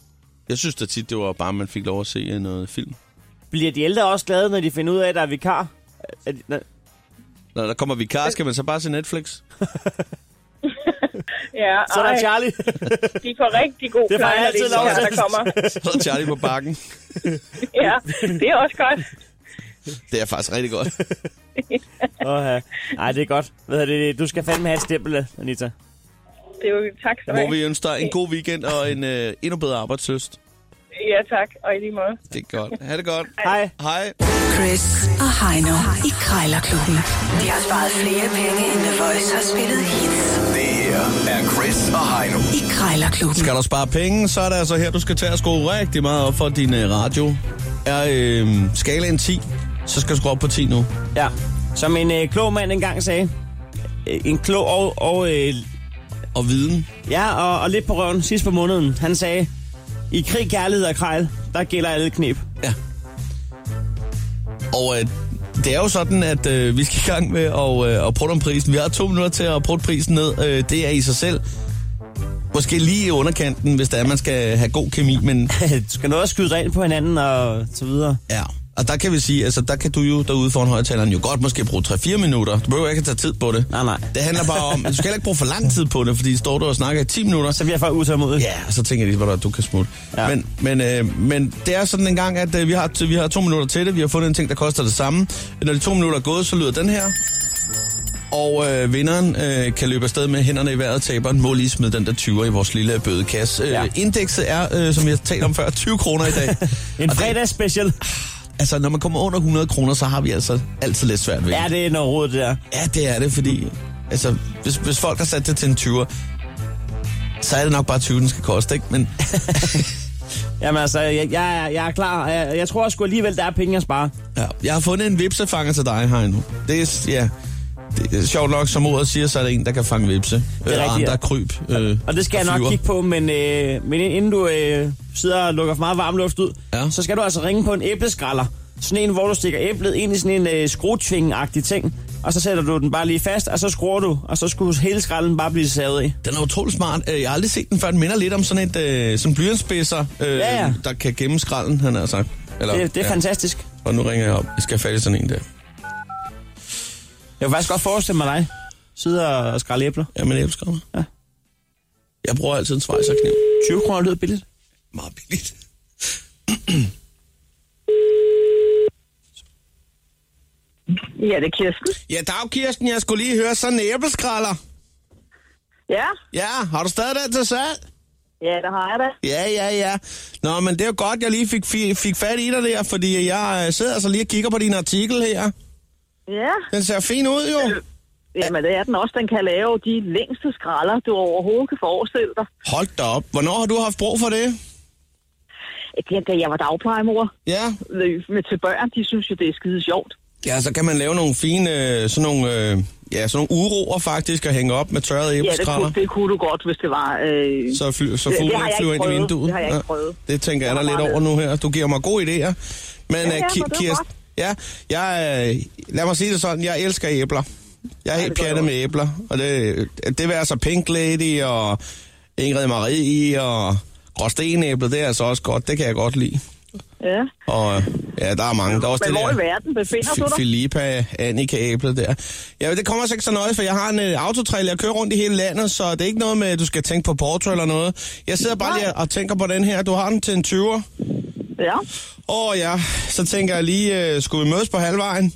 Speaker 2: Jeg synes da tit, det var bare, at man fik lov at se øh, noget film.
Speaker 3: Bliver de ældre også glade, når de finder ud af, at der er vikar? Er de, nå,
Speaker 2: Når der kommer vikar, skal man så bare se Netflix?
Speaker 6: Ja,
Speaker 3: så er
Speaker 6: ej,
Speaker 3: der Charlie.
Speaker 6: de får rigtig god
Speaker 3: Det får
Speaker 6: pleje,
Speaker 3: jeg
Speaker 6: når
Speaker 3: altid
Speaker 6: de
Speaker 3: lov
Speaker 6: her,
Speaker 3: til.
Speaker 6: der kommer.
Speaker 2: Så er Charlie på bakken.
Speaker 6: Ja, det er også godt.
Speaker 2: Det er faktisk rigtig godt.
Speaker 3: Åh, ja. Ej, det er godt. Hvad er det? Du skal fandme have et stempel, Anita.
Speaker 6: Det er jo tak skal du
Speaker 2: Hvor
Speaker 6: have.
Speaker 2: vi ønsker dig en god weekend og en øh, endnu bedre arbejdsløst.
Speaker 6: Ja, tak. Og i lige måde.
Speaker 2: Det er godt. Ha' det godt.
Speaker 3: Hej.
Speaker 2: Hej.
Speaker 1: Chris og Heino i Krejlerklubben. De har sparet flere penge, end The Voice har spillet hits
Speaker 7: Det her er Chris og Heino.
Speaker 1: i Krejlerklubben.
Speaker 2: Skal du spare penge, så er det altså her, du skal tage og skrue rigtig meget op for din øh, radio. Er øh, skalaen 10, så skal du skrue op på 10 nu.
Speaker 3: Ja. Som en øh, klog mand engang sagde. Øh, En klog og, og øh,
Speaker 2: Og viden.
Speaker 3: Ja, og, og lidt på røven sidst på måneden. Han sagde, i krig, kærlighed og krejl, der gælder alle knep.
Speaker 2: Ja. Og øh, det er jo sådan, at øh, vi skal i gang med at, øh, at prøve om prisen. Vi har to minutter til at prøve prisen ned. Øh, det er i sig selv. Måske lige i underkanten, hvis der er, man skal have god kemi, men
Speaker 3: du skal nå at skyde rent på hinanden og så videre.
Speaker 2: Ja, og der kan vi sige, altså der kan du jo derude foran højtaleren jo godt måske bruge 3-4 minutter. Du behøver ikke at tage tid på det.
Speaker 3: Nej, nej.
Speaker 2: Det handler bare om, at du skal heller ikke bruge for lang tid på det, fordi står du og snakker i 10 minutter,
Speaker 3: Så
Speaker 2: så
Speaker 3: bliver folk utålmodige.
Speaker 2: ja, så tænker de, at du kan smutte. Ja.
Speaker 3: Ja.
Speaker 2: Men, men, øh, men det er sådan en gang, at øh, vi, har, vi har to minutter til det. Vi har fundet en ting, der koster det samme. Når de to minutter er gået, så lyder den her. Og øh, vinderen øh, kan løbe afsted med hænderne i vejret. Taberen må lige smide den der 20'er i vores lille bødekasse. Ja.
Speaker 3: Ja.
Speaker 2: Øh, indekset er, øh, som vi har talt om før, 20 kroner i dag.
Speaker 3: En
Speaker 2: Og det-
Speaker 3: fredagsspecial.
Speaker 2: Altså, når man kommer under 100 kroner, så har vi altså altid lidt svært ved.
Speaker 3: Ja, det er noget råd, det der.
Speaker 2: ja det er det, fordi altså, hvis, hvis folk har sat det til en 20'er, så er det nok bare 20, den skal koste, ikke? Men
Speaker 3: Jamen altså, jeg, jeg, er- jeg er klar. Jeg, jeg tror sgu alligevel, der er penge at spare.
Speaker 2: ja, jeg har fundet en vipsefanger til dig, Heino. Det er, s- ja, det er sjovt nok, som ordet siger, så er det en, der kan fange vipse. Det
Speaker 3: rigtigt,
Speaker 2: og andre
Speaker 3: ja.
Speaker 2: kryb. Øh,
Speaker 3: Og det skal jeg nok
Speaker 2: flyver.
Speaker 3: kigge på, men, øh, men inden du øh, sidder og lukker for meget varm luft ud,
Speaker 2: Ja.
Speaker 3: ja. så skal du altså ringe på en æbleskræller. Sådan en, hvor du stikker æblet ind i sådan en øh, skruetving-agtig ting, og så sætter du den bare lige fast, og så skruer du, og så skulle hele skralden bare blive savet i.
Speaker 2: Den er utrolig smart. Øh, Jeg har aldrig set den før. Den minder lidt om sådan et øh, sådan blyantspidser, øh,
Speaker 3: Ja, ja.
Speaker 2: der kan gemme skralden, han har sagt. Eller,
Speaker 3: Det, det er ja. fantastisk.
Speaker 2: Og nu ringer jeg op. Jeg skal have fat i sådan en der.
Speaker 3: Jeg kunne faktisk godt forestille mig dig sidde og, og skrælle æbler.
Speaker 2: Jamen, æbleskræller.
Speaker 3: Ja.
Speaker 2: Jeg bruger altid en svejserkniv.
Speaker 3: 20 kroner lyder billigt.
Speaker 2: meget billigt.
Speaker 8: Ja, det er Kirsten.
Speaker 2: Ja, dag Kirsten, jeg skulle lige høre sådan en æbleskralder.
Speaker 8: Ja,
Speaker 2: Ja, har du stadig den til salg?
Speaker 8: ja, det har jeg da.
Speaker 2: Ja, ja, ja. Nå, men det er jo godt, jeg lige fik, fik, fik fat i dig der, fordi jeg øh, sidder altså lige og kigger på din artikel her.
Speaker 8: Ja,
Speaker 2: Den ser fin ud jo.
Speaker 8: jamen det er den også. Den kan lave de længste skralder, du overhovedet kan forestille dig.
Speaker 2: Hold da op. Hvornår har du haft brug for det?
Speaker 8: Det er, da jeg var dagplejemor
Speaker 2: Ja.
Speaker 8: øh, med til børn, de synes jo, det er skide sjovt.
Speaker 2: Ja, så kan man lave nogle fine, øh, sådan nogle, øh, ja, sådan nogle uroer faktisk, og hænge op med tørrede
Speaker 8: Ja, det
Speaker 2: æbleskralder.
Speaker 8: kunne, det kunne du godt, hvis det var... Øh,
Speaker 2: så, fly, så
Speaker 8: det- det
Speaker 2: fuglen
Speaker 8: har jeg
Speaker 2: ikke flyver
Speaker 8: ikke
Speaker 2: ind i
Speaker 8: prøvet.
Speaker 2: vinduet.
Speaker 8: Det har jeg ikke
Speaker 2: Ja,
Speaker 8: prøvet.
Speaker 2: Det tænker
Speaker 8: Jeg
Speaker 2: jeg da
Speaker 8: har
Speaker 2: lidt
Speaker 8: bare
Speaker 2: over nu her. Altså, Du giver mig gode idéer.
Speaker 8: ja,
Speaker 2: Men ja,
Speaker 8: men det er
Speaker 2: Kirsten, ja, jeg, øh, lad mig sige det sådan, jeg elsker æbler. Jeg er helt
Speaker 8: det gør
Speaker 2: pjattet
Speaker 8: du
Speaker 2: med æbler. Og det, det vil altså Pink Lady og Ingrid Marie og Gråstenæblet, det er altså også godt. Det kan jeg godt lide.
Speaker 8: ja.
Speaker 2: Og øh, ja, der er mange. Der er også
Speaker 8: Men
Speaker 2: det
Speaker 8: hvor
Speaker 2: der-
Speaker 8: i verden befinder du
Speaker 2: F-
Speaker 8: dig?
Speaker 2: Filippa, Annika Æblet der. Ja, det kommer altså ikke så nøje, for jeg har en uh, autotrail, jeg kører rundt i hele landet, så det er ikke noget med, at du skal tænke på Porto eller noget. Jeg sidder bare lige og tænker på den her. Du har den til en 20'er.
Speaker 8: Ja.
Speaker 2: Åh oh, ja, så tænker jeg lige, uh, skulle vi mødes på halvvejen?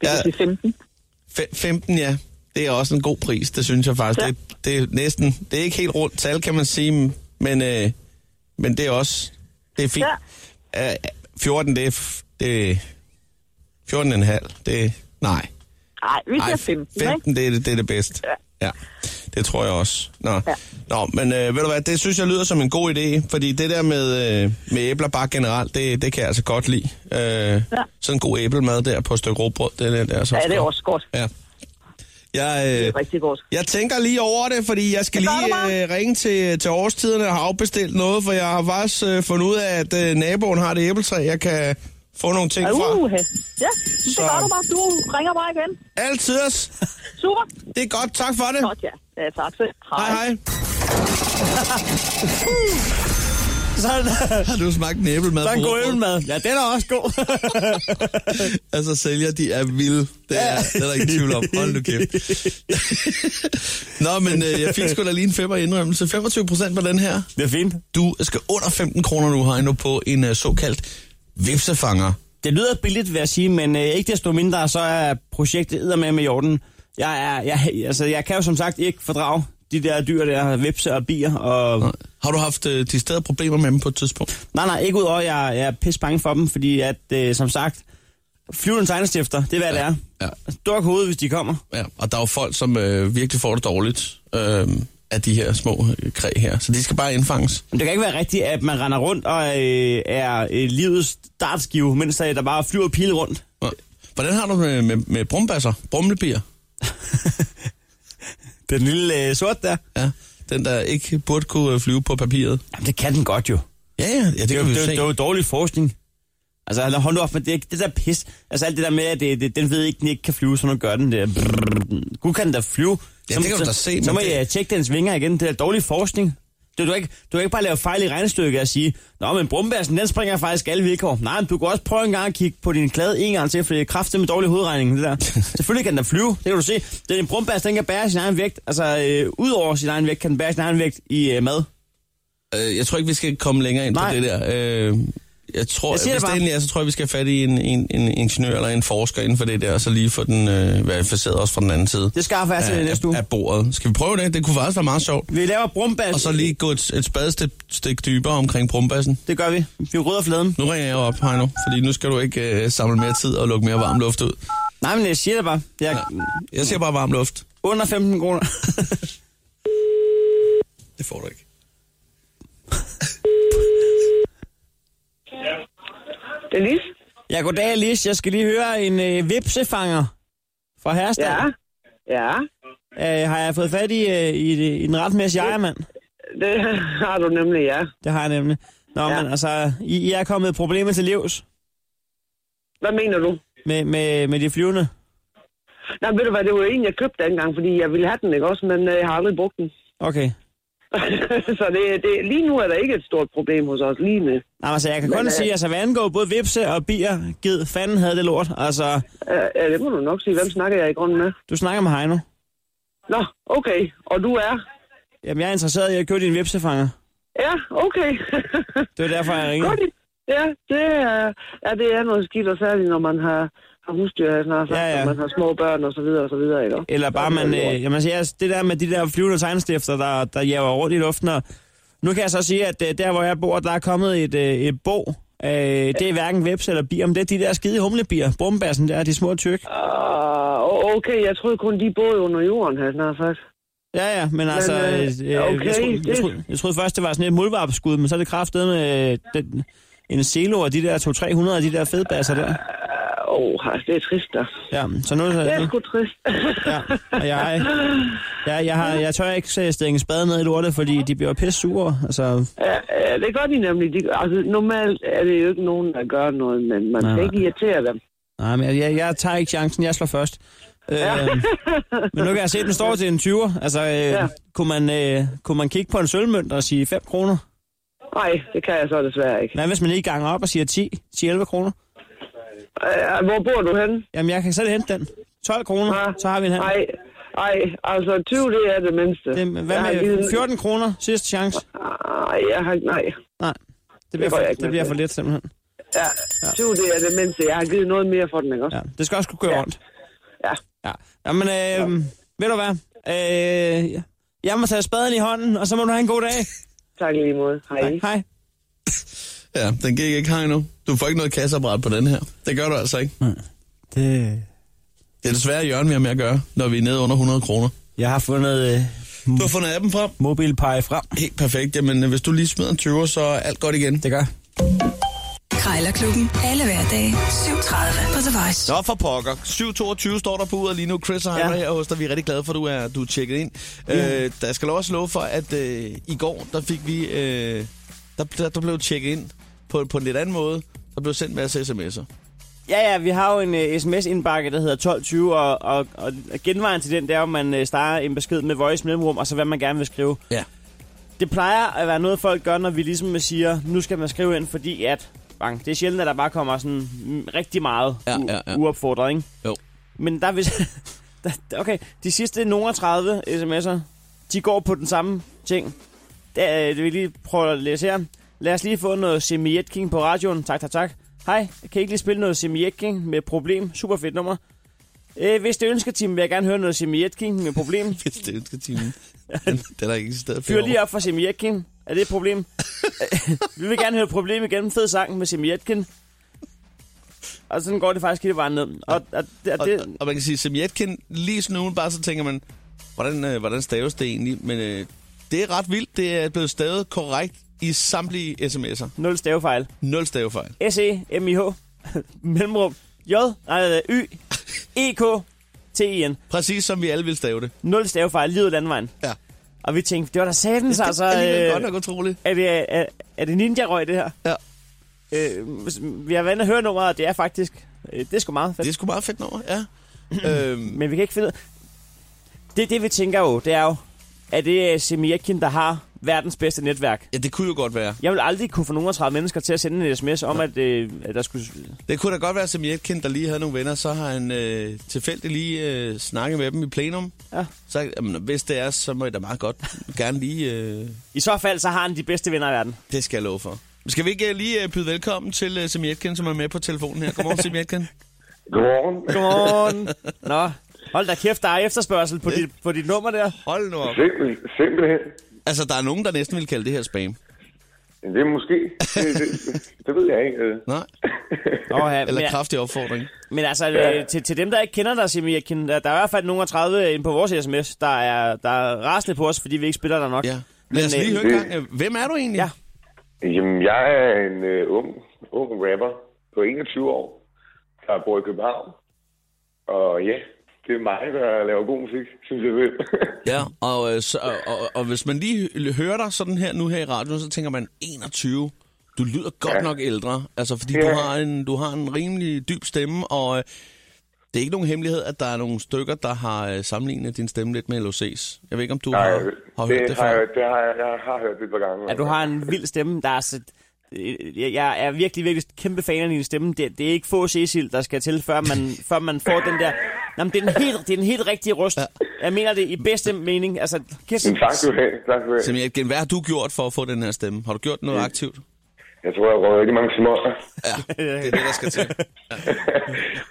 Speaker 8: Det
Speaker 2: Ja.
Speaker 8: er ja. 15.
Speaker 2: Fe- 15, ja. Det er også en god pris, det synes jeg faktisk.
Speaker 8: Ja.
Speaker 2: Det, det er næsten, det er ikke helt rundt tal, kan man sige, men, øh, men det er også, det er fint. Ja. Øh, 14, det er, f- det er 14,5, det er, nej.
Speaker 8: Nej, vi
Speaker 2: Ej,
Speaker 8: siger 15, ikke?
Speaker 2: 15 det er det, det er det bedste. Ja. ja. Det tror jeg også. Nå, ja. Nå men øh, ved du hvad, det synes jeg lyder som en god idé, fordi det der med, øh, med æbler bare generelt, det, det kan jeg altså godt lide. Øh, ja. Sådan en god æblemad der på et stykke råbrød, det, det, det er så
Speaker 8: Ja, det er
Speaker 2: godt.
Speaker 8: også godt.
Speaker 2: Ja. Jeg, øh,
Speaker 8: Rigtig godt.
Speaker 2: jeg tænker lige over det, fordi jeg skal
Speaker 8: Det gør du
Speaker 2: lige øh, ringe til, til årstiderne og have afbestilt noget, for jeg har faktisk øh, fundet ud af, at øh, naboen har et æbletræ, jeg kan få nogle ting fra.
Speaker 8: Uh, ja, det
Speaker 2: Så-
Speaker 8: gør du bare. Du ringer bare igen.
Speaker 2: Altid os.
Speaker 8: Super.
Speaker 2: Det er godt. Tak for det.
Speaker 8: Godt, ja. ja tak selv.
Speaker 2: Hej, hej.
Speaker 3: Sådan,
Speaker 2: Har du smagt en æblemad?
Speaker 3: så en
Speaker 2: på
Speaker 3: god
Speaker 2: rugbrød?
Speaker 3: ølmad. Ja, den er også god.
Speaker 2: Altså, sælger, de er vilde. Det er, det er der ingen tvivl om. Hold nu kæft. Nå, men øh, jeg fik sgu da lige en femmer i indrømmelse. 25 procent på den her.
Speaker 3: det er fint.
Speaker 2: Du skal under 15 kroner nu, Heino, på en øh, såkaldt Vipsefanger.
Speaker 3: Det lyder billigt, vil jeg sige, men øh, ikke desto mindre, så er projektet med med jorden. Jeg, er, jeg, altså, jeg kan jo som sagt ikke fordrage de der dyr der, vipse og bier. Og...
Speaker 2: Har du haft øh, de steder problemer med dem på et tidspunkt?
Speaker 3: Nej, nej, ikke udover, jeg, jeg er pisse bange for dem, fordi at, øh, som sagt, flyvende tegnestifter, det er hvad ja. det er.
Speaker 2: Ja.
Speaker 3: Duk hovedet, hvis de kommer.
Speaker 2: ja. Og der er jo folk, som øh, virkelig får det dårligt øh, af de her små øh, kræ her. Så de skal bare indfanges.
Speaker 3: Men det kan ikke være rigtigt, at man render rundt og øh, er øh, livets startskive, mens øh, der der bare flyver pile rundt.
Speaker 2: Nå. Hvordan har du med, med, med brumbasser? Brumlebier?
Speaker 3: Den lille øh, sort der.
Speaker 2: Ja. Den, der ikke burde kunne øh, flyve på papiret.
Speaker 3: Jamen, det kan den godt jo.
Speaker 2: Ja, ja, ja det,
Speaker 3: Det
Speaker 2: kan
Speaker 3: er, jo,
Speaker 2: vi
Speaker 3: det,
Speaker 2: jo
Speaker 3: er jo-
Speaker 2: se.
Speaker 3: det er jo dårlig forskning. Altså, hold- hold nu op med det, det der pis. Altså, alt det der med, at det, det, den ved ikke, den ikke kan flyve, så nu gør den det. Brrr. Gud kan den da flyve.
Speaker 2: Ja,
Speaker 3: Så-
Speaker 2: det kan du da
Speaker 3: så-
Speaker 2: se, men
Speaker 3: Så må
Speaker 2: det-
Speaker 3: jeg tjekke dens vinger igen. Det er dårlig forskning. Du, du, kan ikke, du kan ikke bare lave fejl i regnestykket og sige, Nå, men brumbærsen, den springer faktisk alle vilkår. Nej, men du kan også prøve en gang at kigge på din klade en gang til, for det er kraftigt med dårlig hovedregning, det der. Selvfølgelig kan den da flyve, det kan du se. Den brumbærs, den kan bære sin egen vægt. Altså, øh, ud over sin egen vægt, kan den bære sin egen vægt i øh, mad.
Speaker 2: Øh, jeg tror ikke, vi skal komme længere ind
Speaker 3: Nej.
Speaker 2: på det der. Øh, jeg tror,
Speaker 3: Jeg
Speaker 2: jeg
Speaker 3: siger det
Speaker 2: hvis det
Speaker 3: bare.
Speaker 2: endelig er, så tror jeg, vi skal have fat i en, en, en ingeniør eller en forsker inden for det der, og så lige få den øh, verificeret også fra den anden side.
Speaker 3: Det skaffer jeg til
Speaker 2: af,
Speaker 3: næste uge.
Speaker 2: af, af bordet. Skal vi prøve det? Det kunne faktisk være meget sjovt.
Speaker 3: Vi laver brumbærs.
Speaker 2: Og så lige gå et, et spadestik stik dybere omkring brumbassen.
Speaker 3: Det gør vi. Vi rydder fladen.
Speaker 2: Nu ringer jeg op, Heino, fordi nu skal du ikke øh, samle mere tid og lukke mere varm luft ud.
Speaker 3: Nej, men jeg siger det bare. Jeg er
Speaker 2: Ja. Jeg siger bare varm luft.
Speaker 3: under 15 kroner.
Speaker 2: Det får du ikke.
Speaker 8: Det er lige.
Speaker 3: ja, goddag, Lis. Jeg skal lige høre en øh, vipsefanger fra Herstad.
Speaker 8: Ja. Ja.
Speaker 3: Øh, har jeg fået fat i, øh, i, det- i den retmæssige ejermand?
Speaker 8: Det har du nemlig, ja.
Speaker 3: Det har jeg nemlig. Nå, ja.
Speaker 8: Ja.
Speaker 3: men altså, I, I er kommet problemer til livs
Speaker 8: Hvad mener du?
Speaker 3: med, med, med de flyvende.
Speaker 8: Nej, ved du hvad, det var en, jeg købte dengang, fordi jeg ville have den, ikke også? Men øh, jeg har aldrig brugt den.
Speaker 3: Okay.
Speaker 8: så det, det, lige nu er der ikke et stort problem hos os, lige nu.
Speaker 3: Nå, men altså, jeg kan kun
Speaker 8: øh,
Speaker 3: sige, altså, hvad angår både vipse og bier, gid fanden havde det lort. Altså,
Speaker 8: Øh, ja, det må du nok sige. Hvem snakker jeg i grunden med?
Speaker 3: du snakker med Heino.
Speaker 8: Nå, okay. Og du er?
Speaker 3: Jamen, jeg er interesseret i at købe din vipsefanger.
Speaker 8: Ja, okay.
Speaker 3: Det er derfor, jeg ringer.
Speaker 8: Godt. Ja, det er, ja, det er noget skidt, og særligt når man har, har husdyr, jeg snart sagt,
Speaker 3: Ja,
Speaker 8: ja,
Speaker 3: ja.
Speaker 8: ja. når man har små børn og så videre og så videre, ikke?
Speaker 3: Eller bare man, øh, jamen, altså, yes, det der med de der flyvende tegnstifter, der, der jæver rundt i luften. Og nu kan jeg så sige, at øh, der hvor jeg bor, der er kommet et, øh, et bog. Øh, det er hverken veps eller bier, men det er de der skide humlebier. Brumbassen der, de små tyk.
Speaker 8: Uh, okay, jeg troede kun, de boede under jorden, har jeg snart sagt.
Speaker 3: Ja, ja, men altså,
Speaker 8: øh,
Speaker 3: øh, øh,
Speaker 8: okay,
Speaker 3: jeg, troede, jeg,
Speaker 8: det-
Speaker 3: troede, jeg troede først, det var sådan et muldvarpskud, men så er det kraftet med øh, den, en selo og de der 200-300 af de der fedbasser der.
Speaker 8: Åh, uh, oh, det er trist, da.
Speaker 3: Ja, så nu...
Speaker 8: Det
Speaker 3: Ja,
Speaker 8: er sgu trist.
Speaker 3: ja, og jeg, jeg, jeg, har, jeg tør ikke øh, stikke en spade ned i lortet, fordi de bliver pisse sure. Altså,
Speaker 8: Ja, ja, det gør de nemlig. De, altså, normalt er det jo ikke nogen, der gør noget, men man
Speaker 3: Nej,
Speaker 8: skal ikke irritere dem.
Speaker 3: Nej, men jeg, jeg, jeg tager ikke chancen. Jeg slår først. Øh, men nu kan jeg se, at den står til en 20'er. Altså, øh, ja. kunne, man, øh, kunne man kigge på en sølvmønt og sige 5 kroner?
Speaker 8: Nej, det kan jeg så desværre ikke.
Speaker 3: Hvad hvis man lige ganger op og siger 10, 10-11 kroner?
Speaker 8: Uh, hvor bor du henne?
Speaker 3: Jamen, jeg kan selv hente den. 12 kroner,
Speaker 8: Ah,
Speaker 3: så har vi en her.
Speaker 8: Nej, nej, altså 20, det er det mindste.
Speaker 3: Det,
Speaker 8: Jeg har
Speaker 3: hvad med
Speaker 8: givet-
Speaker 3: 14 kroner? Sidste chance?
Speaker 8: Ej, jeg har, nej.
Speaker 3: Nej, det bliver,
Speaker 8: går
Speaker 3: for,
Speaker 8: jeg ikke
Speaker 3: det
Speaker 8: med
Speaker 3: bliver
Speaker 8: til.
Speaker 3: for lidt simpelthen.
Speaker 8: Ja, 20, det er det mindste. Jeg har givet noget mere for den, ikke også?
Speaker 3: Ja, det skal også kunne køre ja. rundt.
Speaker 8: Ja.
Speaker 3: Ja. Jamen, øh, ved du hvad? Øh, jeg må tage spaden i hånden, og så må du have en god dag.
Speaker 8: Tak i lige måde. Hej.
Speaker 3: Hej.
Speaker 2: Ja, den gik ikke, Heino. Du får ikke noget kasseapparat på den her. Det gør du altså ikke.
Speaker 3: Det...
Speaker 2: Det er desværre Jørgen, vi har med at gøre, når vi er nede under 100 kroner.
Speaker 3: Jeg har fundet øh,
Speaker 2: Du har fundet appen frem.
Speaker 3: mobilpege frem.
Speaker 2: Helt perfekt. Jamen, øh, hvis du lige smider en 20, så er alt godt igen.
Speaker 3: Det gør
Speaker 1: Krejlerklubben. Alle hverdage. 7.30 på The Voice.
Speaker 2: Nå for pokker. 7.22 står der på uret lige nu. Chris og Heimer ja.
Speaker 3: Ja.
Speaker 2: her hos dig. Vi er rigtig glade for, at du er, du er tjekket ind. Ja. Øh, der skal lov også love for, at øh, i går, der fik vi... Øh, der, der, der blev tjekket ind på, på en lidt anden måde. Der blev sendt en masse sms'er.
Speaker 3: Ja, ja, vi har jo en uh, sms-indbakke, der hedder 1220, og, og, og genvejen til den, det er, om man uh, starter en besked med voice mellemrum, og så hvad man gerne vil skrive.
Speaker 2: Ja.
Speaker 3: Det plejer at være noget, folk gør, når vi ligesom siger, nu skal man skrive ind, fordi at... Bang, det er sjældent, at der bare kommer sådan mm, rigtig meget
Speaker 2: Ja,
Speaker 3: u-
Speaker 2: ja, ja.
Speaker 3: uopfordret, ikke?
Speaker 2: Jo.
Speaker 3: Men der er vist... der- okay, de sidste nogen 30 sms'er, de går på den samme ting. Det, øh, det vil jeg lige prøve at læse her. Lad os lige få noget Semi King på radioen. Tak, tak, tak. Hej, jeg kan ikke lige spille noget Simietking med problem. Super fedt nummer. Øh, hvis det ønsker timen, vil jeg gerne høre noget Simietking med problem.
Speaker 2: Hvis det ønsker timen. Den, den er ikke stedet
Speaker 3: Fyr lige op for Simietkin. Er det et problem? vi vil gerne høre et problem igen. Fed sang med Simietkin. Og sådan går det faktisk hele vejen ned. Og, og, og,
Speaker 2: Og,
Speaker 3: det,
Speaker 2: og, og man kan sige, Semjetkin, lige sådan nu, bare så tænker man, hvordan, øh, hvordan staves det egentlig? Men øh, det er ret vildt. Det er blevet stavet korrekt i samtlige sms'er.
Speaker 3: nul stavefejl. E
Speaker 2: Nul stavefejl.
Speaker 3: S-E-M-I-H. Mellemrum. J. Nej, Y. E E-K. T-I-N.
Speaker 2: Præcis som vi alle ville stave det.
Speaker 3: Nul stavefejl. Livet landvejen.
Speaker 2: Ja.
Speaker 3: Og vi tænkte, det var da satans, altså.
Speaker 2: det er alligevel godt
Speaker 3: øh,
Speaker 2: nok utroligt.
Speaker 3: er, det, er, er det ninja-røg, det her?
Speaker 2: Ja.
Speaker 3: Øh, hvis- vi har været at høre nummeret, og det er faktisk... Øh, det er sgu meget fedt.
Speaker 2: Det er sgu meget fedt nummer, ja. øhm,
Speaker 3: Men vi kan ikke finde ud Det, det vi tænker jo, det er jo, at det er Semiakin, der har verdens bedste netværk.
Speaker 2: ja, det kunne jo godt være.
Speaker 3: Jeg vil aldrig kunne få nogen af 30 mennesker til at sende en sms om, at, øh, at der skulle...
Speaker 2: Det kunne da godt være, som Jetkin, der lige havde nogle venner, så har han øh, tilfældigt lige øh, snakket med dem i plenum.
Speaker 3: Ja.
Speaker 2: Så jamen, hvis det er, så må jeg da meget godt gerne lige... Øh,
Speaker 3: I så fald, så har han de bedste venner i verden.
Speaker 2: det skal jeg love for. Skal vi ikke øh, lige øh, byde velkommen til øh, Semjetkin, som er med på telefonen her? Godmorgen, Semjetkin.
Speaker 4: Godmorgen.
Speaker 3: Godmorgen. Nå, hold da kæft, der er efterspørgsel på dit, på dit nummer der.
Speaker 2: Hold nu op.
Speaker 4: Simpel, simpelthen.
Speaker 2: Altså, der er nogen, der næsten vil kalde det her spam.
Speaker 4: Det er måske. Det, det, det ved jeg ikke. øh.
Speaker 2: Nej?
Speaker 3: Nå, ja, men,
Speaker 2: Eller kraftig opfordring.
Speaker 3: men altså, øh, til, til dem, der ikke kender dig, Semiakin, der, der er i hvert fald nogen af 30 inde på vores sms, der er, der er rasende på os, fordi vi ikke spiller dig nok.
Speaker 2: Ja. Lad os
Speaker 3: Men, øh,
Speaker 2: lige høre en gang. øh, Hvem er du egentlig?
Speaker 3: Ja.
Speaker 4: Jamen, jeg er en øh, ung, ung rapper på 21 år, der bor i København. Og ja, det er mig, der laver god musik, synes jeg selv.
Speaker 2: Ja, og, øh, så, og, og, og hvis man lige hø- hører dig sådan her nu her i radioen, så tænker man 21. Du lyder godt ja. nok ældre, altså fordi ja. du,
Speaker 4: Ja.
Speaker 2: har en, du har en rimelig dyb stemme, og øh, det er ikke nogen hemmelighed, at der er nogle stykker, der har øh, sammenlignet din stemme lidt med LOC's. Jeg ved ikke, om du
Speaker 4: Nej,
Speaker 2: har,
Speaker 4: det,
Speaker 2: har hørt
Speaker 4: det,
Speaker 2: det, det
Speaker 4: har
Speaker 2: før.
Speaker 4: jeg, det har jeg, jeg har hørt det et par gange.
Speaker 3: at du har en vild stemme. Der er så, øh, jeg jeg er virkelig, virkelig kæmpe fan af din stemme. Det, det er ikke få Cecil, der skal til, før man, før man får den der... Nå, men det er den helt, det er den helt rigtige røst. Ja. Jeg mener det i bedste mening. Altså, kæft.
Speaker 4: Men tak skal du have, tak skal du have.
Speaker 2: Simpelthen, Jepgen, hvad har du gjort for at få den her stemme? Har du gjort noget aktivt?
Speaker 4: Jeg tror, jeg rører rigtig mange smøger.
Speaker 2: Øh. Ja,
Speaker 3: Øh,
Speaker 2: det er det, der skal til.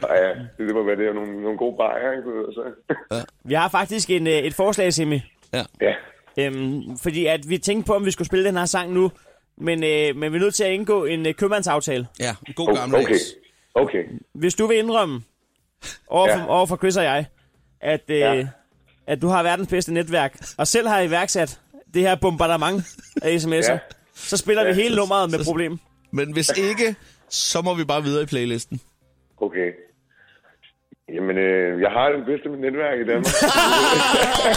Speaker 4: Og ja, det, det må være det. Og Nogle, nogle gode bajer, ikke? Og Så.
Speaker 3: Vi har faktisk en, øh, et forslag, Simi.
Speaker 4: Ja,
Speaker 3: Øhm, fordi at vi tænkte på, om vi skulle spille den her sang nu. Men, øh, men vi er nødt til at indgå en øh, købmandsaftale.
Speaker 2: Ja, en god
Speaker 4: O-
Speaker 2: gammeldags.
Speaker 4: okay. Okay,
Speaker 3: Hvis du vil indrømme over for,
Speaker 4: Ja.
Speaker 3: over for Chris og jeg, at, øh, ja.
Speaker 4: Ja.
Speaker 3: at du har verdens bedste netværk, og selv har iværksat det her bombardement af sms'er, ja.
Speaker 4: Ja.
Speaker 3: så spiller ja. vi hele nummeret med
Speaker 2: så-
Speaker 3: problem.
Speaker 2: Men hvis ikke, så må vi bare videre i playlisten.
Speaker 4: okay. Jamen, øh, jeg har det bedste med netværk i Danmark.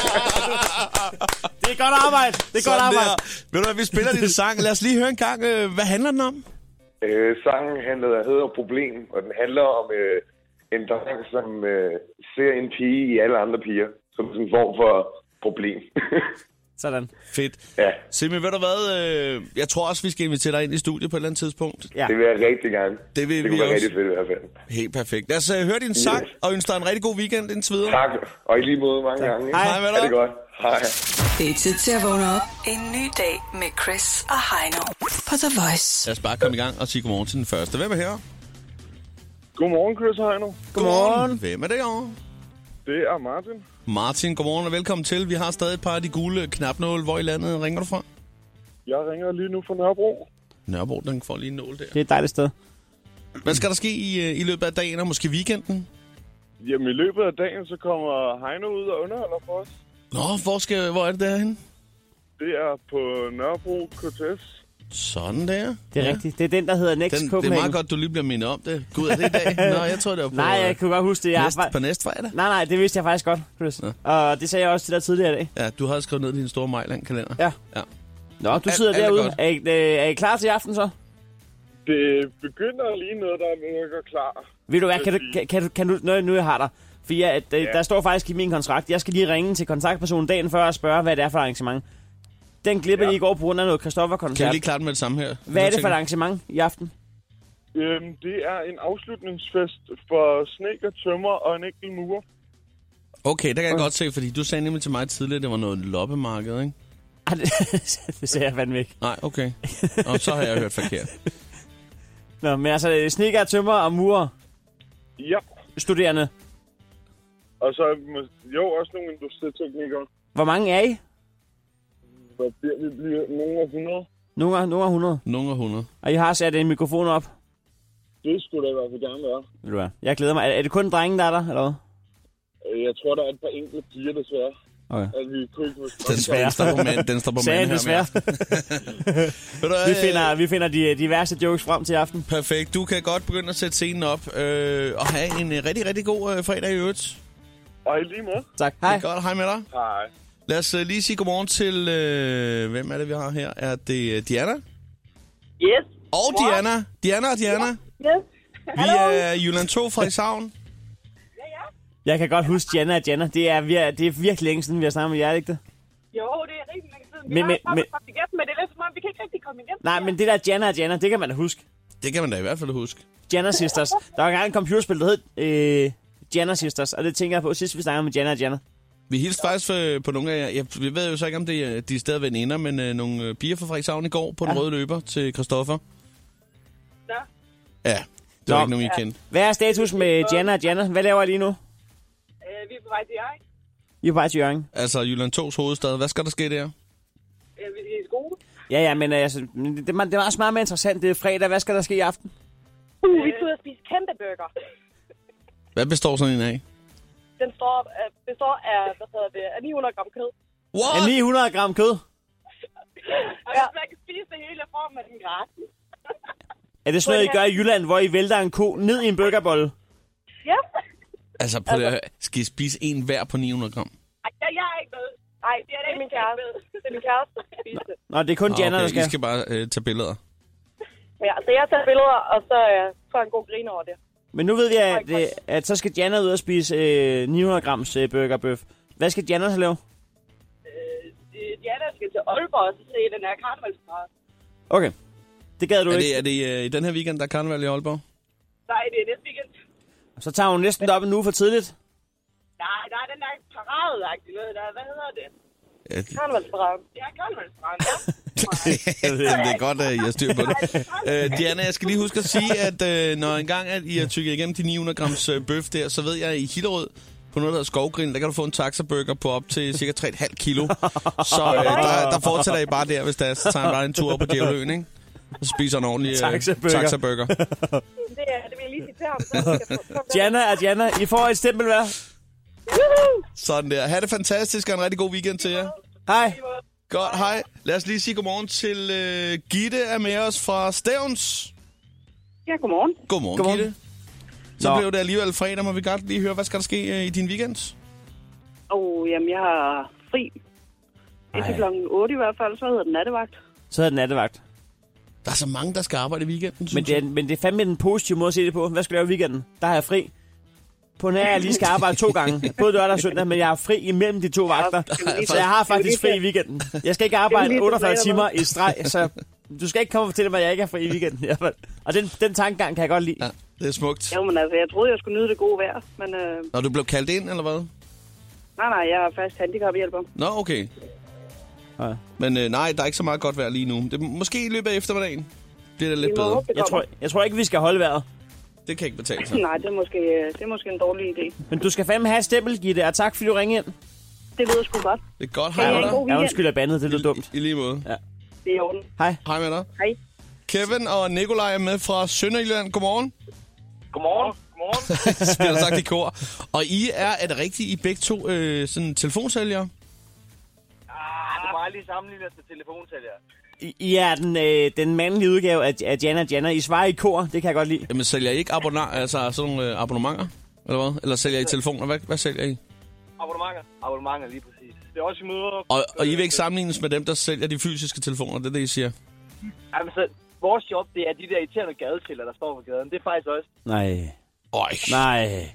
Speaker 3: Det er godt arbejde! Det er godt
Speaker 2: Sådan
Speaker 3: arbejde!
Speaker 2: der. Ved du hvad, vi spiller din sang. Lad os lige høre en gang, øh, hvad handler den om?
Speaker 4: øh, sangen handler, hedder Problem, og den handler om øh, en dreng, som øh, ser en pige i alle andre piger, som sådan en form for problem.
Speaker 3: Sådan.
Speaker 2: Fedt.
Speaker 4: ja,
Speaker 2: Simi, ved du hvad, øh, jeg tror også, vi skal invitere dig ind i studiet på et eller andet tidspunkt.
Speaker 3: Ja.
Speaker 4: det vil jeg rigtig gerne.
Speaker 2: Det vil
Speaker 4: det
Speaker 2: vi
Speaker 4: kunne være
Speaker 2: også.
Speaker 4: rigtig fedt i hvert fald.
Speaker 2: Helt perfekt. Lad os øh, høre din sang, og ønske dig en rigtig god weekend indtil videre.
Speaker 4: Tak, og i lige måde mange gange. ikke?
Speaker 3: Hej.
Speaker 2: Hej med
Speaker 4: Ha'
Speaker 2: dig.
Speaker 4: det godt. Hej.
Speaker 1: Det er tid til at vågne op. En ny dag med Chris og Heino på The Voice.
Speaker 2: Lad os bare komme i gang og sige godmorgen til den første. Hvem er her?
Speaker 9: Godmorgen, Chris og Heino.
Speaker 3: Godmorgen!
Speaker 2: Hvem er det her?
Speaker 9: Det er Martin.
Speaker 2: Martin, godmorgen og velkommen til. Vi har stadig et par af de gule knapnål. Hvor i landet ringer du fra?
Speaker 9: Jeg ringer lige nu fra Nørrebro.
Speaker 2: Nørrebro, den får lige en nål der.
Speaker 3: Det er et dejligt sted.
Speaker 2: Hvad skal der ske i, øh, i løbet af dagen og måske weekenden?
Speaker 9: Jamen, i løbet af dagen, så kommer Heino ud og underholder for os.
Speaker 2: Nå, hvor, skal, hvor er det derhen?
Speaker 9: Det er på Nørrebro KTS.
Speaker 2: Sådan der.
Speaker 3: Det er ja. rigtigt. Det er den, der hedder Next
Speaker 2: Den, det er
Speaker 3: Copenhagen.
Speaker 2: meget godt, du lige bliver mindet om det. Gud, er det i dag? Nå, jeg tror, det var på,
Speaker 3: Nej, jeg kunne godt huske det. Jeg
Speaker 2: næste,
Speaker 3: var-
Speaker 2: på næste fredag.
Speaker 3: Nej, nej, det vidste jeg faktisk godt, Chris. Og det sagde jeg også til dig tidligere i dag.
Speaker 2: Ja, du havde skrevet ned i din store Mejland-kalender.
Speaker 3: Ja.
Speaker 2: ja.
Speaker 3: Nå, du
Speaker 2: Alt-
Speaker 3: sidder
Speaker 2: alt er
Speaker 3: derude.
Speaker 2: godt.
Speaker 3: Er, I, øh, er I klar til i aften så?
Speaker 9: Det begynder lige noget, der er noget, der går klar.
Speaker 3: Ved du hvad, kan du, kan, kan du, kan du nu, nu jeg har dig. For jeg, der, ja. der står faktisk i min kontrakt, jeg skal lige ringe til kontaktpersonen dagen før og spørge, hvad det er for et arrangement. Den glipper ja. i går på grund af noget
Speaker 2: Kan vi
Speaker 3: Christoffer-koncert.
Speaker 2: lige klare den med det samme her?
Speaker 3: Hvad er det for et
Speaker 2: dig?
Speaker 3: arrangement i aften?
Speaker 9: Øhm, det er en afslutningsfest for snek og tømmer og en enkelt mur.
Speaker 2: Okay, det kan jeg godt se, fordi du sagde nemlig til mig tidligere, at det var noget loppemarked, ikke?
Speaker 3: Ej, det- det ser jeg fandme ikke.
Speaker 2: Nej, okay. Og så har jeg hørt forkert.
Speaker 3: Nå, men altså, sneker, tømmer og murer
Speaker 9: Ja,
Speaker 3: studerende.
Speaker 9: og så må- jo også nogle industriteknikere.
Speaker 3: Hvor mange er I?
Speaker 9: Der bliver vi bliver nogle af 100.
Speaker 3: Nogle er, nogle er 100.
Speaker 2: Nogle af 100.
Speaker 3: Og I har sat en mikrofon op.
Speaker 9: Det skulle da i hvert fald gerne være.
Speaker 3: Ved du hvad? Jeg glæder mig. Er, er det kun drenge, der er der, eller hvad?
Speaker 9: Øh, Jeg tror, der er et par enkelte piger, desværre.
Speaker 3: Okay.
Speaker 9: At vi kunne ikke måske...
Speaker 2: Den, den står på mand, den står på
Speaker 3: Sagen
Speaker 2: mand her.
Speaker 3: desværre.
Speaker 2: med. Ved du hvad,
Speaker 3: Vi
Speaker 2: øh,
Speaker 3: finder, vi finder de, de værste jokes frem til i aften.
Speaker 2: Perfekt. Du kan godt begynde at sætte scenen op. Øh, og have en øh, rigtig, rigtig god øh, fredag i øvrigt.
Speaker 9: Og i lige måde.
Speaker 3: Tak. Hej.
Speaker 2: Det er godt. Hej med dig.
Speaker 9: Hej.
Speaker 2: Lad os øh, lige sige godmorgen til... Øh, hvem er det, vi har her? Er det øh, Diana?
Speaker 6: Yes.
Speaker 2: Og Diana. Diana og Diana.
Speaker 6: Yes.
Speaker 2: Vi er Jylland 2 fra Isavn.
Speaker 3: Jeg kan godt huske Janna og Janna. Det er, vi er, det er virkelig længe siden, vi har snakket med jer, er det ikke det?
Speaker 6: Jo, det er rigtig længe siden.
Speaker 3: Men-
Speaker 6: Men,
Speaker 3: men-
Speaker 6: men, men,
Speaker 3: men-
Speaker 6: men det er lidt som om, vi kan ikke rigtig komme igennem.
Speaker 3: Nej, men det der Janna og Janna, det kan man da huske.
Speaker 2: Det kan man da i hvert fald huske.
Speaker 3: Janna Sisters. Der var engang en computerspil, der hed øh, Janna Sisters, og det tænker jeg på sidst, vi snakkede med Janna og Janna.
Speaker 2: Vi hilste faktisk øh, på nogle af jer. Jeg, jeg ved jo så ikke, om det er, de er stadig veninder, men øh, nogle øh, piger fra Frederikshavn i går på den røde løber til Christoffer.
Speaker 6: Nå.
Speaker 2: Ja, det var
Speaker 3: Nå.
Speaker 2: ikke nogen, I kendte.
Speaker 3: Hvad er status med Janna og Janna? Hvad laver I lige nu?
Speaker 6: Øh, vi er på vej til jer.
Speaker 3: I er på vej til Jørgen.
Speaker 2: Altså, Jylland 2's hovedstad. Hvad skal der ske der?
Speaker 6: Øh, vi skal i skole.
Speaker 3: Ja, ja, men altså, men det, det, er- det er også meget mere interessant. Det er fredag. Hvad skal der ske i aften?
Speaker 5: Uh,
Speaker 6: Øh.
Speaker 5: vi skal ud og spise kæmpe burger.
Speaker 2: Hvad består sådan en af?
Speaker 5: Den står, øh, består af, hvad hedder det, af 900 gram kød.
Speaker 3: Er 900 gram kød.
Speaker 6: Og ja. man kan spise det hele i form af den gratis.
Speaker 3: Er det sådan noget, I gør i Jylland, hvor I vælter en ko ned i en burgerbolle?
Speaker 5: Ja.
Speaker 2: Altså, på altså. Det, skal I spise en hver på 900 gram?
Speaker 6: Ej, jeg, jeg er ikke med.
Speaker 5: Nej, det er min kæreste. Det er min kæreste, der skal spise det.
Speaker 3: Nå, det er kun
Speaker 2: Nå,
Speaker 3: Janna, der
Speaker 2: Ah, okay. I
Speaker 3: skal.
Speaker 2: skal bare øh, tage billeder.
Speaker 5: Ja, så jeg tager billeder, og så øh, får jeg en god grin over det.
Speaker 3: Men nu ved vi, at, øh, at så skal Janna ud og spise øh, 900 grams øh, burgerbøf. Hvad skal Janna så lave?
Speaker 6: Øh, Diana skal til Aalborg og så se den her karnevalsparade.
Speaker 3: Okay. Det gad du
Speaker 2: Er
Speaker 3: ikke.
Speaker 2: det, er det øh, i den her weekend, der er karneval i Aalborg?
Speaker 6: Nej, det er næste weekend.
Speaker 3: Så tager hun næsten op en uge for tidligt.
Speaker 6: Nej, der er den der parade-agtige noget der. Hvad hedder det?
Speaker 2: Ja,
Speaker 5: Karnevalsbrænd.
Speaker 6: Det er karnevalsparade, ja.
Speaker 2: jeg ved, det er godt, at I har styr på det. Øh, Diana, jeg skal lige huske at sige, at øh, når engang at I har tykket igennem de 900 grams øh, bøf der, så ved jeg, at i Hillerød, på noget, der hedder Skovgrin, der kan du få en taxaburger på op til cirka 3,5 kilo. Så øh, der, der fortsætter I bare der, hvis der er, så tager I bare en tur op på Djævløen, ikke? Og så spiser en ordentlig øh,
Speaker 3: Taxaburger.
Speaker 2: taxaburger.
Speaker 5: Det, øh, det vil jeg lige sige til ham. så han skal få- få-
Speaker 3: Janna og Janna, I får et stempel hver.
Speaker 2: Sådan der. Ha' det fantastisk, og en rigtig god weekend til jer.
Speaker 3: Hej.
Speaker 2: Godt, hej. Lad os lige sige godmorgen til øh, Gitte er med os fra Stævns.
Speaker 6: Ja, godmorgen.
Speaker 2: Godmorgen,
Speaker 3: Godmorgen.
Speaker 2: godmorgen. Gitte. Så
Speaker 3: Nå.
Speaker 2: blev det alligevel fredag, må vi godt lige høre, hvad skal der ske øh, i din weekend?
Speaker 8: Åh, jamen, jeg har fri. Indtil klokken 8 i hvert fald, så hedder den nattevagt.
Speaker 3: Så hedder den nattevagt.
Speaker 2: Der er så mange, der skal arbejde i weekenden,
Speaker 3: Men
Speaker 2: synes
Speaker 3: det, er,
Speaker 2: jeg.
Speaker 3: men det er fandme den positive måde at se det på. Hvad skal jeg lave i weekenden? Der har jeg fri. På nær, jeg lige skal arbejde to gange. Både lørdag og søndag, men jeg har fri imellem de to vagter. Så jeg har faktisk fri i weekenden. Jeg skal ikke arbejde 48 timer i streg, så du skal ikke komme og fortælle mig, at jeg ikke er fri i weekenden. i hvert fald. Og den, den tankegang kan jeg godt lide.
Speaker 2: Ja, det er smukt.
Speaker 8: Jo, men altså, jeg troede, jeg skulle nyde det gode vejr, men øh,
Speaker 2: Når du blev kaldt ind, eller hvad?
Speaker 8: nej, nej, jeg er fast handicaphjælper.
Speaker 2: Nå, okay.
Speaker 3: Ja.
Speaker 2: Men øh, nej, der er ikke så meget godt vejr lige nu. Det, er måske i løbet af eftermiddagen bliver det lidt
Speaker 8: må
Speaker 2: bedre.
Speaker 8: håbe, det
Speaker 3: Jeg
Speaker 8: kommer.
Speaker 3: tror, jeg tror ikke, vi skal holde vejret.
Speaker 2: Det kan ikke betale sig.
Speaker 8: Nej, det er, måske, øh, det er måske en dårlig idé.
Speaker 3: Men du skal fandme have et stempel, Gitte, og tak fordi du ringede ind.
Speaker 8: Det lyder sgu godt.
Speaker 2: Det er godt.
Speaker 8: Ja,
Speaker 2: Hej med dig.
Speaker 8: god
Speaker 3: Ja,
Speaker 8: weekend.
Speaker 3: undskyld, jeg bandede. Det lød dumt.
Speaker 2: I, I lige måde. Ja.
Speaker 8: Det er i orden.
Speaker 3: Hej.
Speaker 2: Hej med dig.
Speaker 8: Hej.
Speaker 2: Kevin og Nikolaj er med fra Sønderjylland. Godmorgen.
Speaker 9: Godmorgen. Godmorgen.
Speaker 2: Spiller sagt i kor. Og I er, er det rigtigt, I er begge to øh, sådan telefonsælgere?
Speaker 9: Ah, du må lige sammenligne os med telefonsælger.
Speaker 3: I- I er den, øh, den mandlige udgave af, af Janna Janna. I svarer i kor, det kan jeg godt lide.
Speaker 2: Jamen, sælger I ikke abonner, altså sådan nogle øh, abonnementer? Eller hvad? Eller sælger I telefoner? Hvad, hvad sælger I?
Speaker 9: Abonnementer. Abonnementer, lige præcis. Det er også i møder.
Speaker 2: Og, og I vil ikke sammenlignes med dem, der sælger de fysiske telefoner, det er det, I siger?
Speaker 9: Jamen, så vores job, det er de der irriterende gadeskiller, der står på gaden. Det er faktisk også.
Speaker 3: Nej,
Speaker 2: Øj.
Speaker 3: nej.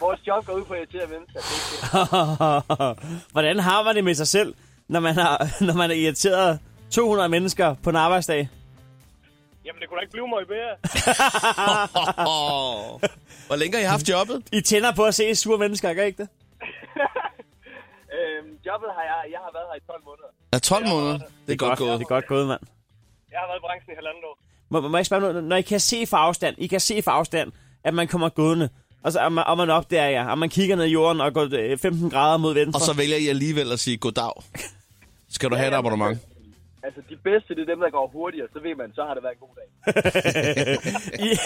Speaker 9: Vores job går ud på at irritere mennesker. Det er ikke det.
Speaker 3: Hvordan har man det med sig selv, når man, har, når man er irriteret 200 mennesker på en arbejdsdag?
Speaker 9: Jamen, det kunne da ikke blive mig bedre.
Speaker 2: Oh. Hvor længe har I haft jobbet?
Speaker 3: I tænder på at se sure mennesker, gør I ikke det?
Speaker 9: øhm, jobbet har jeg, jeg har været her i 12 måneder.
Speaker 2: Ja, 12 måneder. Det er godt gået.
Speaker 3: Det er godt gået, mand.
Speaker 9: Jeg har været i branchen i halvandet år.
Speaker 3: Må, må jeg ikke spørge om noget? Når I kan se fra afstand, I kan se fra afstand, at man kommer gående, og, så, og, man, og man opdager jer, og man kigger ned i jorden og går øh, 15 grader mod venstre.
Speaker 2: Og så vælger I alligevel at sige goddag. Skal du have et abonnement?
Speaker 10: Altså, de bedste, det er dem, der går hurtigere, så ved man, så har det været en god dag.
Speaker 3: I,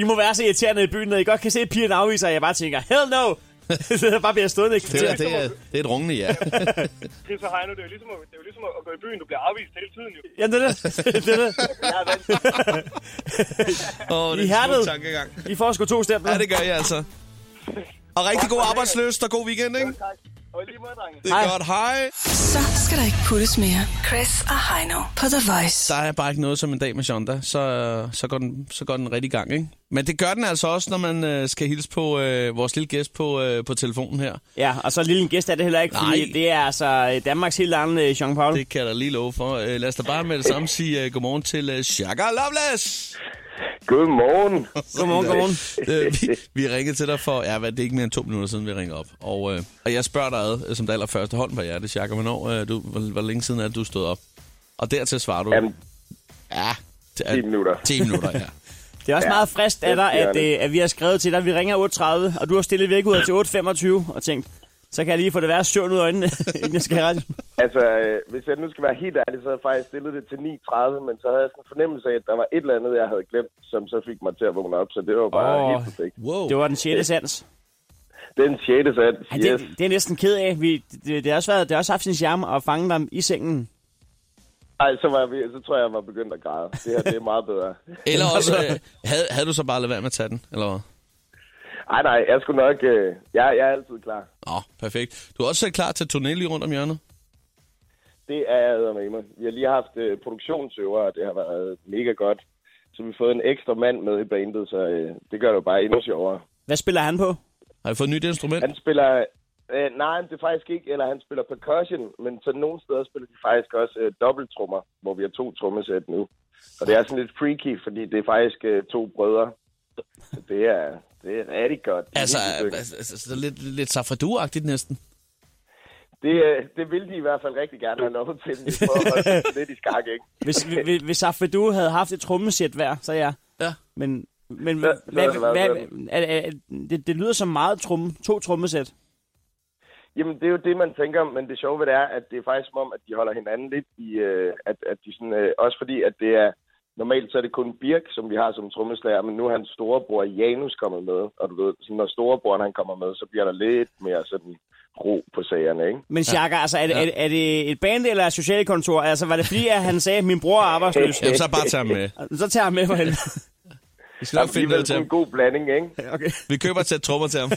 Speaker 3: I må være så irriterende i byen, når I godt kan se, at pigerne afviser, og jeg bare tænker, hell no! så bare bliver stående ikke?
Speaker 2: Det er, det er, det er et rungende ja.
Speaker 9: Chris og Heino, det er jo ligesom, at, det er jo ligesom at gå i byen. Du bliver afvist hele tiden, jo.
Speaker 3: Ja, det er det. det, er det.
Speaker 10: Jeg er vant.
Speaker 2: Oh,
Speaker 3: I hærdet.
Speaker 2: tankegang.
Speaker 3: I får sgu to stempler.
Speaker 2: Ja, det gør jeg altså. Og rigtig god arbejdsløst og god weekend, ikke?
Speaker 10: Tak. Og i lige måde, drenge.
Speaker 2: Det er
Speaker 3: Hej.
Speaker 2: godt. Hej.
Speaker 1: Så skal der ikke puttes mere. Chris og Heino på The Voice.
Speaker 2: Der er bare ikke noget som en dag med Shonda, så, så, går, den, så går den rigtig i gang, ikke? Men det gør den altså også, når man øh, skal hilse på øh, vores lille gæst på, øh, på telefonen her.
Speaker 3: Ja, og så en lille gæst er det heller ikke, fordi
Speaker 2: Nej.
Speaker 3: det er altså øh, Danmarks helt egen øh, Jean-Paul.
Speaker 2: Det kan jeg da lige love for. Øh, lad os da bare med det samme sige øh, godmorgen til øh, Shaka Loveless.
Speaker 4: Godmorgen.
Speaker 3: Godmorgen, godmorgen.
Speaker 2: Øh, vi, vi ringede til dig for, ja, hvad, det er ikke mere end to minutter siden, vi ringede op. Og, øh, og jeg spørger dig ad, øh, som det allerførste hånd på hjertet, Shaka, hvornår, øh, du, hvor, hvor længe siden er det, du stod op? Og dertil svarer du,
Speaker 4: Jamen,
Speaker 2: ja, det er-
Speaker 4: 10 minutter.
Speaker 2: 10 minutter, ja.
Speaker 3: Det er også ja, meget frist af dig,
Speaker 4: det er
Speaker 3: at,
Speaker 4: det.
Speaker 3: øh, at vi har skrevet til dig, vi ringer 8.30, og du har stillet vækkeuret til 8.25 og tænkt, så kan jeg lige få det værste søvn ud af øjnene, inden jeg skal have radio.
Speaker 4: Altså, øh, hvis jeg nu skal være helt ærlig, så havde jeg faktisk stillet det til 9.30, men så havde jeg sådan en fornemmelse af, at der var et eller andet, jeg havde glemt, som så fik mig til at vågne op, så det var bare
Speaker 3: Åh.
Speaker 4: oh. helt perfekt.
Speaker 2: Wow.
Speaker 3: Det var den 6. sans.
Speaker 4: Den 6. sat,
Speaker 3: Ej,
Speaker 4: yes.
Speaker 3: det, det, er næsten ked af. Vi, det, det, har også været, det har også haft sin charme at fange dem i sengen.
Speaker 4: Ej, så, var jeg, ved- så tror jeg, jeg var begyndt at græde. Det her, det er meget bedre.
Speaker 2: Eller også, øh, havde, havde du så bare lavet være med at tage den, eller hvad?
Speaker 4: Ej, nej, jeg skulle nok... Øh, jeg, jeg er altid klar.
Speaker 2: Nå, perfekt. Du er også klar til turné lige rundt om hjørnet.
Speaker 4: Det er jeg med mig. Vi har lige haft øh, produktionsøver, og det har været mega godt. Så vi har fået en ekstra mand med i bandet, så øh, det gør det jo bare endnu sjovere.
Speaker 3: Hvad spiller han på?
Speaker 2: Har I fået et nyt instrument?
Speaker 4: Han spiller... Øh, nej, men det er faktisk ikke, eller han spiller percussion, men så nogle steder spiller de faktisk også øh, dobbelttrummer, hvor vi har to trommesæt nu. Og det er sådan lidt freaky, fordi det er faktisk øh, to brødre. Så Det er, det er rigtig godt. Det er
Speaker 2: Altså,
Speaker 4: virkelig dygtigt.
Speaker 2: altså, altså lidt, lidt safradu-agtigt næsten.
Speaker 4: det, øh, det vil de i hvert fald rigtig gerne have lov til. Vi prøver at holde dem lidt i skak, ikke?
Speaker 3: Hvis, hvis, hvis Afedu havde haft et trommesæt hver, så ja.
Speaker 2: Ja.
Speaker 3: Men, men
Speaker 4: Hvad-
Speaker 3: hvad,
Speaker 4: hvad-
Speaker 3: hvad,
Speaker 4: hvad-
Speaker 3: hvad, er, er, er, det, det lyder som meget tromme, to trommesæt.
Speaker 4: Jamen, det er jo det, man tænker, men det sjove ved det er, at det er faktisk som om, at de holder hinanden lidt i, øh, at, at de sådan, øh, også fordi, at det er, normalt så er det kun Birk, som vi har som trommeslager, men nu er hans storebror Janus kommet med, og du ved, sådan, når storebroren han kommer med, så bliver der lidt mere sådan ro på sagerne, ikke?
Speaker 3: Men Chaka, altså, er, det, er, er det et band eller et socialkontor? Altså, var det fordi, at han sagde, at min bror er arbejdsløs?
Speaker 2: Jamen, så bare tage ham med.
Speaker 3: Så tager jeg med mig hen.
Speaker 2: Vi skal nok finde
Speaker 4: Alligevel
Speaker 2: noget til
Speaker 4: sådan
Speaker 2: ham.
Speaker 4: en god blanding, ikke?
Speaker 3: Okay.
Speaker 2: Vi køber et sæt trommer til ham.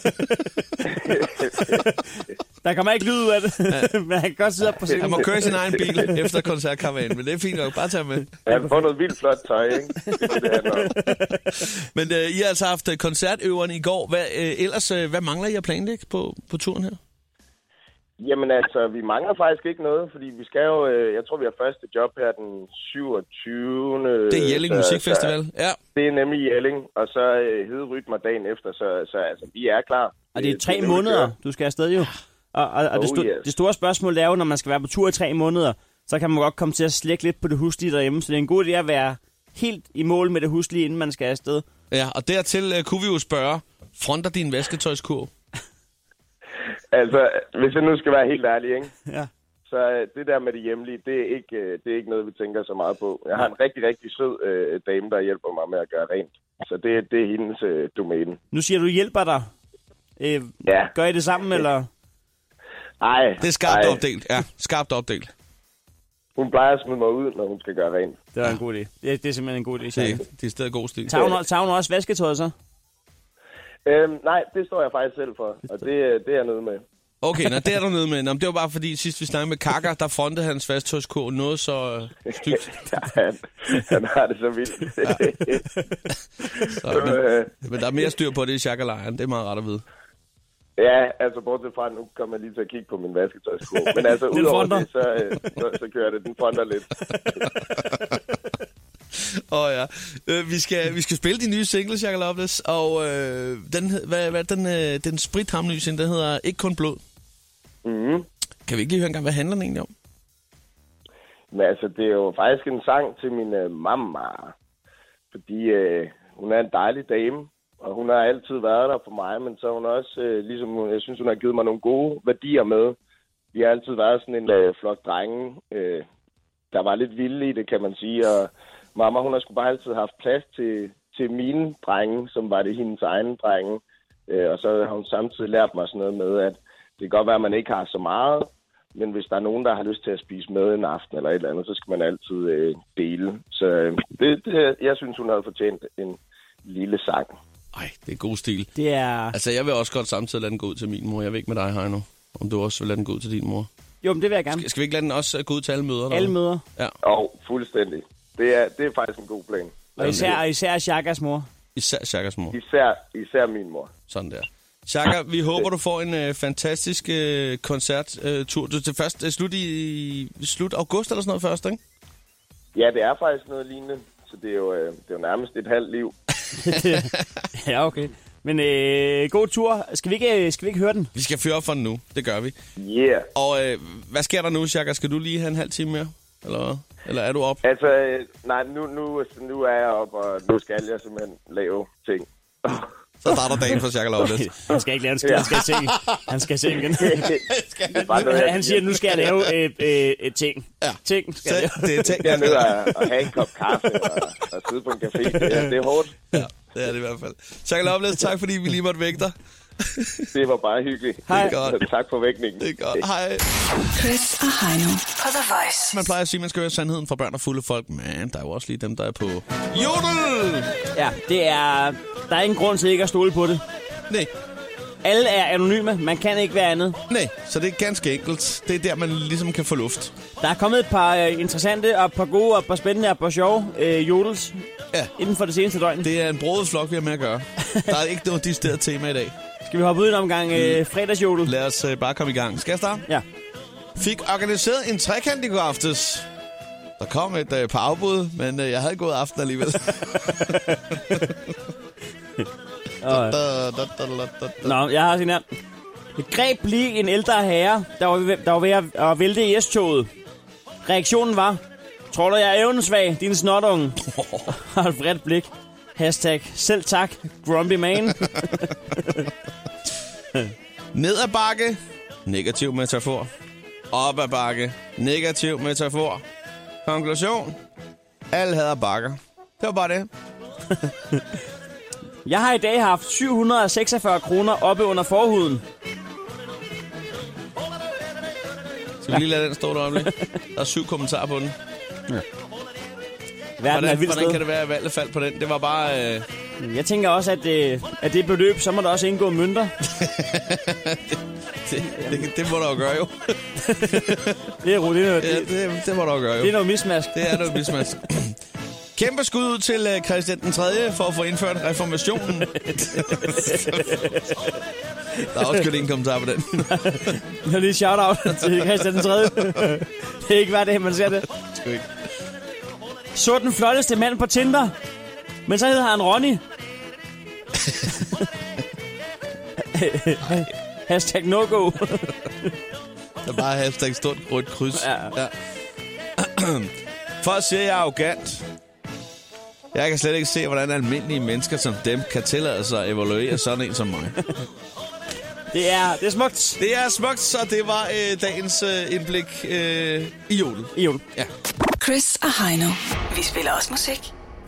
Speaker 3: Der kommer ikke lyd ud af det, men han kan godt sidde op på
Speaker 2: Han
Speaker 3: scenen.
Speaker 2: må køre i sin egen bil efter koncertkaravanen, men det er fint nok. Bare tage ham med.
Speaker 4: Han får noget vildt flot tøj, ikke? Det er det, han har.
Speaker 2: Men øh, I har altså haft øh, koncertøverne i går. Hvad, øh, ellers, øh, hvad mangler I at planlægge på, på turen her?
Speaker 4: Jamen altså, vi mangler faktisk ikke noget, fordi vi skal jo, øh, jeg tror, vi har første job her den 27.
Speaker 2: Det er Jelling
Speaker 4: så-
Speaker 2: Musikfestival. Ja,
Speaker 4: Det er nemlig Jelling, og så øh, hede rytmer dagen efter, så, så altså, vi er klar.
Speaker 3: Og det er tre
Speaker 4: nu, vi
Speaker 3: måneder,
Speaker 4: kører.
Speaker 3: du skal afsted jo. Og, og, og det,
Speaker 4: Oh,
Speaker 3: sto-
Speaker 4: yes.
Speaker 3: det store spørgsmål er jo, når man skal være på tur i tre måneder, så kan man godt komme til at slække lidt på det huslige derhjemme. Så det er en god idé at være helt i mål med det huslige, inden man skal afsted.
Speaker 2: ja og dertil øh, kunne vi jo spørge, fronter din vasketøjskurv?
Speaker 4: Altså, hvis jeg nu skal være helt ærlig, ikke?
Speaker 3: Ja.
Speaker 4: så øh, det der med det hjemlige, det er, ikke, øh, det er ikke noget, vi tænker så meget på. Jeg har en rigtig, rigtig sød øh, dame, der hjælper mig med at gøre rent. Så det, det er hendes øh, domæne.
Speaker 3: Nu siger du, hjælper dig. Øh,
Speaker 4: Ja.
Speaker 3: Gør I det sammen, eller?
Speaker 4: Ej,
Speaker 2: Det er skarpt
Speaker 4: ej.
Speaker 2: opdelt. Ja, skarpt opdelt.
Speaker 4: Hun plejer at smide mig ud, når hun skal gøre rent.
Speaker 3: Det var en god idé. Det, det er simpelthen en god idé, Chaka.
Speaker 2: Det, det er stadig god stil.
Speaker 3: Tager hun, tager hun også vasketøjet så?
Speaker 4: Øhm, nej, det står jeg faktisk selv for, og det, øh, det er jeg nede med.
Speaker 2: Okay, nå, det er du nede med. Nå, men det var bare fordi, sidst vi snakkede med Kaka, der frontede hans fasttøjskurv noget så øh, stygt.
Speaker 4: Han, han har det så vildt. øh,
Speaker 2: Så, men, men der er mere styr på det i chakkerlejren. Det er meget rart at vide.
Speaker 4: Ja, altså bortset fra, nu kommer jeg lige til at kigge på min vasketøjsko. Men altså,
Speaker 3: Den
Speaker 4: udover
Speaker 3: fronter.
Speaker 4: det, så, øh, så, så kører det. Den fronter lidt.
Speaker 2: Åh oh, ja. Øh, vi, skal, vi skal spille de nye single, Shaka Loveless, og øh, den, hed- hvad, hvad, den, øh, den sprithamlys, den hedder Ikke kun blod.
Speaker 4: Mm-hmm.
Speaker 2: Kan vi ikke lige høre en gang, hvad handler den egentlig om?
Speaker 4: Men altså, det er jo faktisk en sang til min øh, mamma. fordi øh, hun er en dejlig dame, og hun har altid været der for mig, men så har hun også, øh, ligesom hun- jeg synes, hun har givet mig nogle gode værdier med. Vi har altid været sådan en øh, flok drenge, øh, der var lidt vilde i det, kan man sige, og mamma, hun har sgu bare altid haft plads til, til mine drenge, som var det hendes egne drenge, øh, og så har hun samtidig lært mig sådan noget med, at det kan godt være, at man ikke har så meget, men hvis der er nogen, der har lyst til at spise med en aften eller et eller andet, så skal man altid øh, dele. Så øh, det, det, jeg synes, hun havde fortjent en lille sang.
Speaker 2: Ej, det er god stil.
Speaker 3: Det er...
Speaker 2: Altså, jeg vil også godt samtidig lade den gå ud til min mor. Jeg ved ikke med dig, Heino, om du også vil lade den gå ud til din mor.
Speaker 3: Jo, men det vil jeg gerne.
Speaker 2: Skal, skal vi ikke lade den også øh, gå ud til alle møder? derude?
Speaker 3: Alle møder.
Speaker 2: Ja.
Speaker 4: Og fuldstændig. Det er, det er faktisk en god plan.
Speaker 3: Og især, og især Chakas mor.
Speaker 2: Især Chakas mor.
Speaker 4: Især, især min mor.
Speaker 2: Sådan der. Chaka, vi håber, du får en øh, fantastisk øh, koncerttur. Øh, til først øh, slut i slut august eller sådan noget først, ikke?
Speaker 4: Ja, det er faktisk noget lignende, så det er jo, øh, det er jo nærmest et halvt liv.
Speaker 3: ja, okay. Men øh, god tur. Skal vi, ikke, øh, skal vi ikke høre den?
Speaker 2: Vi skal føre op for den nu. Det gør vi.
Speaker 4: Yeah.
Speaker 2: Og øh, hvad sker der nu, Chaka? Skal du lige have en halv time mere? Eller, hvad? eller er du op?
Speaker 4: Altså, øh, nej, nu, nu, nu er jeg op, og nu skal jeg simpelthen lave ting.
Speaker 2: Så starter dagen for Chaka Lovelace.
Speaker 3: Han skal ikke lave en skid. Han skal i seng. Han skal i seng igen.
Speaker 4: Det er bare noget, jeg-
Speaker 3: Han siger, at nu skal jeg lave øh, øh, et ting. Ja. Ting skal jeg lave.
Speaker 2: Det er tænkt.
Speaker 4: Jeg er nødt til at have en kop kaffe og, og sidde på en café. Det er, det er hårdt.
Speaker 2: Ja, det er det i hvert fald. Chaka Lovelace, tak fordi vi lige måtte vække dig.
Speaker 4: Det var bare hyggeligt.
Speaker 2: Hej.
Speaker 4: Det er godt. Tak for vækningen.
Speaker 2: Det er godt. Hej.
Speaker 1: Chris og Heino på The Voice.
Speaker 2: Man plejer at sige, at man skal høre sandheden fra børn og fulde folk. Men der er jo også lige dem, der er på jodel.
Speaker 3: Ja, det er... Der er ingen grund til ikke at stole på det.
Speaker 2: Nej,
Speaker 3: Alle er anonyme. Man kan ikke være andet.
Speaker 2: nej. Så det er ganske enkelt. Det er der, man ligesom kan få luft.
Speaker 3: Der er kommet et par øh, interessante, og et par gode, og et par spændende, og et par sjove øh, jodels
Speaker 2: Ja.
Speaker 3: inden for det seneste døgn.
Speaker 2: Det er en brodet flok, vi har med at gøre. Der er ikke noget distilleret tema i dag.
Speaker 3: Skal vi hoppe ud en omgang
Speaker 2: Mm.
Speaker 3: øh, fredagsjodel?
Speaker 2: Lad os øh, bare komme i gang. Skal jeg starte?
Speaker 3: Ja.
Speaker 2: Fik organiseret en trekant i går aftes. Der kom et øh, par afbud, men øh, jeg havde gået aften alligevel.
Speaker 3: Og,
Speaker 2: Da, da, da, da, da, da.
Speaker 3: Nå, jeg har sådan her. Det greb lige en ældre herre, der var, ved- der var ved at- at vælte i S-toget. Reaktionen var, tror du jeg er evnesvag, din snotunge? Og et vredt blik. Hashtag, selv tak, grumpy man.
Speaker 2: Ned ad bakke. Negativ metafor. Op ad bakke. Negativ metafor. Konklusion. Alle hader bakker. Det var bare det.
Speaker 3: Jeg har i dag haft 746 kroner oppe under forhuden.
Speaker 2: Skal vi lige lade den stå der øjeblik? Der er syv kommentarer på den.
Speaker 3: Verden er et
Speaker 2: Hvordan,
Speaker 3: vildt
Speaker 2: hvordan
Speaker 3: sted.
Speaker 2: kan det være, at valget faldt på den? Det var bare... Øh,
Speaker 3: Jeg tænker også, at, øh, at det beløb, så må der også indgå mønter.
Speaker 2: det, det, det, må du jo gøre, jo.
Speaker 3: Det er, ro- det, er,
Speaker 2: Ja,
Speaker 3: det,
Speaker 2: det, det må du jo gøre, jo.
Speaker 3: det er noget mismask.
Speaker 2: Det er noget mismatch. Kæmpe skud ud til øh, Christian den 3. for at få indført reformationen. der er også kørt en kommentar på den.
Speaker 3: Jeg vil lige shout-out til Christian den 3. det er ikke hver dag, man ser det.
Speaker 2: Sgu ikke.
Speaker 3: Så den flotteste mand på Tinder. Men så hedder han Ronny. Hashtag no go.
Speaker 2: Der er bare hashtag stort rødt kryds.
Speaker 3: Ja.
Speaker 2: Ja. Folk siger, jeg er arrogant. Jeg kan slet ikke se, hvordan almindelige mennesker som dem kan tillade sig at evaluere sådan en som mig.
Speaker 3: Det er, det er smukt.
Speaker 2: Det er smukt, så det var øh, dagens øh, indblik øh, i julen.
Speaker 3: Jo.
Speaker 2: Ja.
Speaker 1: Chris og Heino. Vi spiller også musik.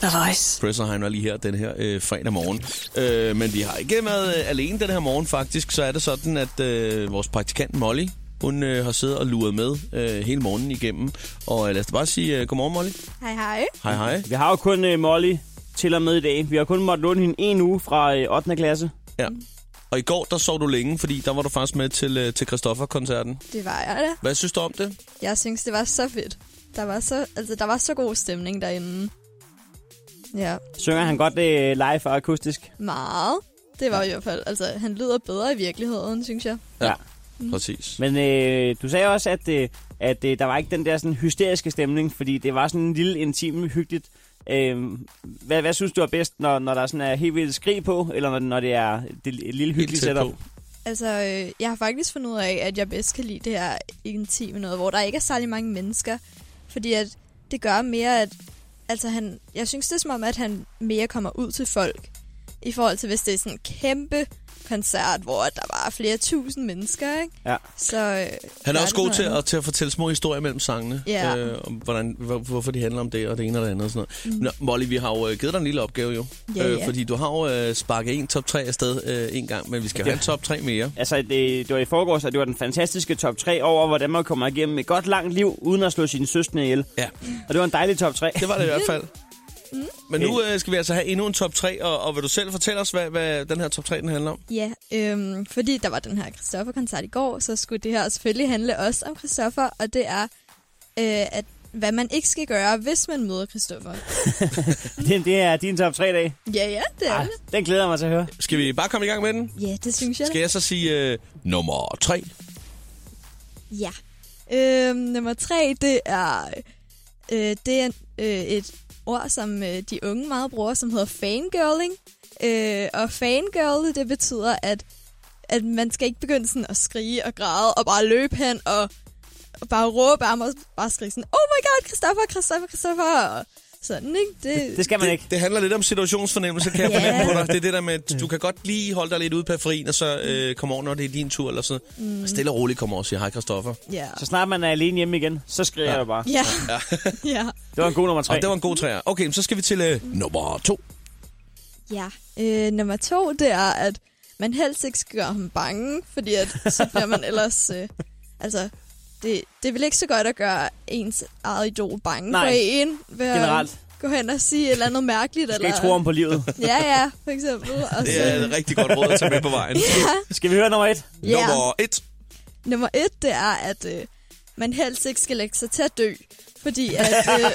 Speaker 1: The Voice.
Speaker 2: Presserheim er lige her den her øh, fredag morgen. Øh, men vi har ikke været øh, alene den her morgen faktisk. Så er det sådan, at øh, vores praktikant Molly, hun øh, har siddet og luret med øh, hele morgenen igennem. Og øh, lad os da bare sige øh, godmorgen Molly.
Speaker 11: Hej, hej.
Speaker 2: Hej hej.
Speaker 3: Vi har jo kun uh, Molly til og med i dag. Vi har kun måttet låne hende en uge fra uh, 8. klasse.
Speaker 2: Ja.
Speaker 11: Mm.
Speaker 2: Og i går der sov du længe, fordi der var du faktisk med til, øh, til Christoffer-koncerten.
Speaker 11: Det var jeg da.
Speaker 2: Hvad synes du om det?
Speaker 11: Jeg synes, det var så fedt. Der var så, altså, der var så god stemning derinde. Ja,
Speaker 3: Synger han godt uh, live og akustisk?
Speaker 11: meget. Det var i hvert fald, altså, han lyder bedre i virkeligheden, synes jeg.
Speaker 3: Ja.
Speaker 11: Mm.
Speaker 2: Præcis.
Speaker 3: Men øh, du sagde også, at, øh, at øh, der var ikke den der sådan, hysteriske stemning, fordi det var sådan en lille, intim, hyggeligt. Øh, hvad, hvad synes du er bedst, når, når der sådan er helt vildt skrig på, eller når, når det er det, et lille hyggeligt
Speaker 2: tæt
Speaker 3: setup?
Speaker 2: på.
Speaker 11: Altså, øh, jeg har faktisk fundet ud af, at jeg bedst kan lide det her intime noget, hvor der ikke er særlig mange mennesker. Fordi at det gør mere, at altså han, jeg synes, det er som om, at han mere kommer ud til folk, i forhold til, hvis det er sådan en kæmpe koncert, hvor der var flere tusind mennesker, ikke?
Speaker 2: Ja.
Speaker 11: Så, øh,
Speaker 2: Han
Speaker 11: der
Speaker 2: er også
Speaker 11: det
Speaker 2: god
Speaker 11: noget
Speaker 2: til
Speaker 11: andet.
Speaker 2: at, til at fortælle små historier mellem sangene.
Speaker 11: Ja.
Speaker 2: Øh, om hvordan, hvor, hvorfor de handler om det, og det ene og det andet og sådan noget. Mm. Nå, Molly, vi har jo øh, givet dig en lille opgave jo.
Speaker 3: Ja, ja.
Speaker 2: fordi du har jo øh, sparket en top 3 afsted øh, en gang, men vi skal jo
Speaker 3: Ja.
Speaker 2: have en top 3 mere.
Speaker 3: Altså, det, det var i forgårs, at det var den fantastiske top 3 over, hvordan man kommer igennem et godt langt liv, uden at slå sine søskende ihjel.
Speaker 2: Ja.
Speaker 3: Og det var en dejlig top 3.
Speaker 2: Det var det i hvert fald.
Speaker 11: Mm.
Speaker 2: Men nu øh, skal vi altså have endnu en top 3, og, og vil du selv fortælle os, hvad, hvad den her top 3 den handler om?
Speaker 11: Ja, øhm, fordi der var den her Christoffer-koncert i går, så skulle det her selvfølgelig handle også om Christoffer, og det er, øh, at hvad man ikke skal gøre, hvis man møder Christoffer.
Speaker 3: det, det er din top 3 dag.
Speaker 11: Ja, ja, det er det.
Speaker 3: Den glæder jeg mig til at høre.
Speaker 2: Skal vi bare komme i gang med den?
Speaker 11: Ja, det synes jeg. da.
Speaker 2: Skal jeg så sige øh, nummer 3?
Speaker 11: Ja. Øhm, nummer tre, det er, øh, det er øh, et ord, som øh, de unge meget bruger, som hedder fangirling. Øh, og fangirl, det betyder, at, at man skal ikke begynde sådan at skrige og græde og bare løbe hen og, og bare råbe af mig og bare skrige sådan, oh my god, Christoffer, Christoffer, Christoffer, og sådan, ikke? Det,
Speaker 3: skal man ikke.
Speaker 2: Det handler lidt om situationsfornemmelse, kan jeg
Speaker 11: Ja.
Speaker 2: fornemme på dig. Det er det der med, at du kan godt lige holde dig lidt ude på ferien, og så øh, komme over, når det er din tur, eller sådan.
Speaker 11: Mm.
Speaker 2: Mm. Stille og roligt kommer over og siger, hej Christoffer.
Speaker 11: Ja.
Speaker 3: Så snart man er alene hjemme igen, så skriver ja. jeg bare.
Speaker 11: Ja. ja.
Speaker 3: Det var en god nummer 3.
Speaker 2: Og det var en god træer. Okay, men så skal vi til øh, nummer to.
Speaker 11: Ja. Øh, nummer to, det er, at man helst ikke skal gøre ham bange, fordi at, så bliver man ellers... Øh, altså, det, det er vel ikke så godt at gøre ens eget idol bange
Speaker 3: Nej.
Speaker 11: for en. Ved at
Speaker 3: Generelt.
Speaker 11: Gå hen og sige et eller andet mærkeligt.
Speaker 3: Du skal
Speaker 11: eller...
Speaker 3: ikke tro om på livet.
Speaker 11: Ja, ja, for eksempel. Og
Speaker 2: Det
Speaker 11: så,
Speaker 2: er et rigtig godt råd at tage med på vejen.
Speaker 3: Ja. Skal vi høre nummer et?
Speaker 11: Ja.
Speaker 2: Nummer et.
Speaker 11: nummer et, det er, at øh, man helst ikke skal lægge sig til at dø. Fordi at... Øh,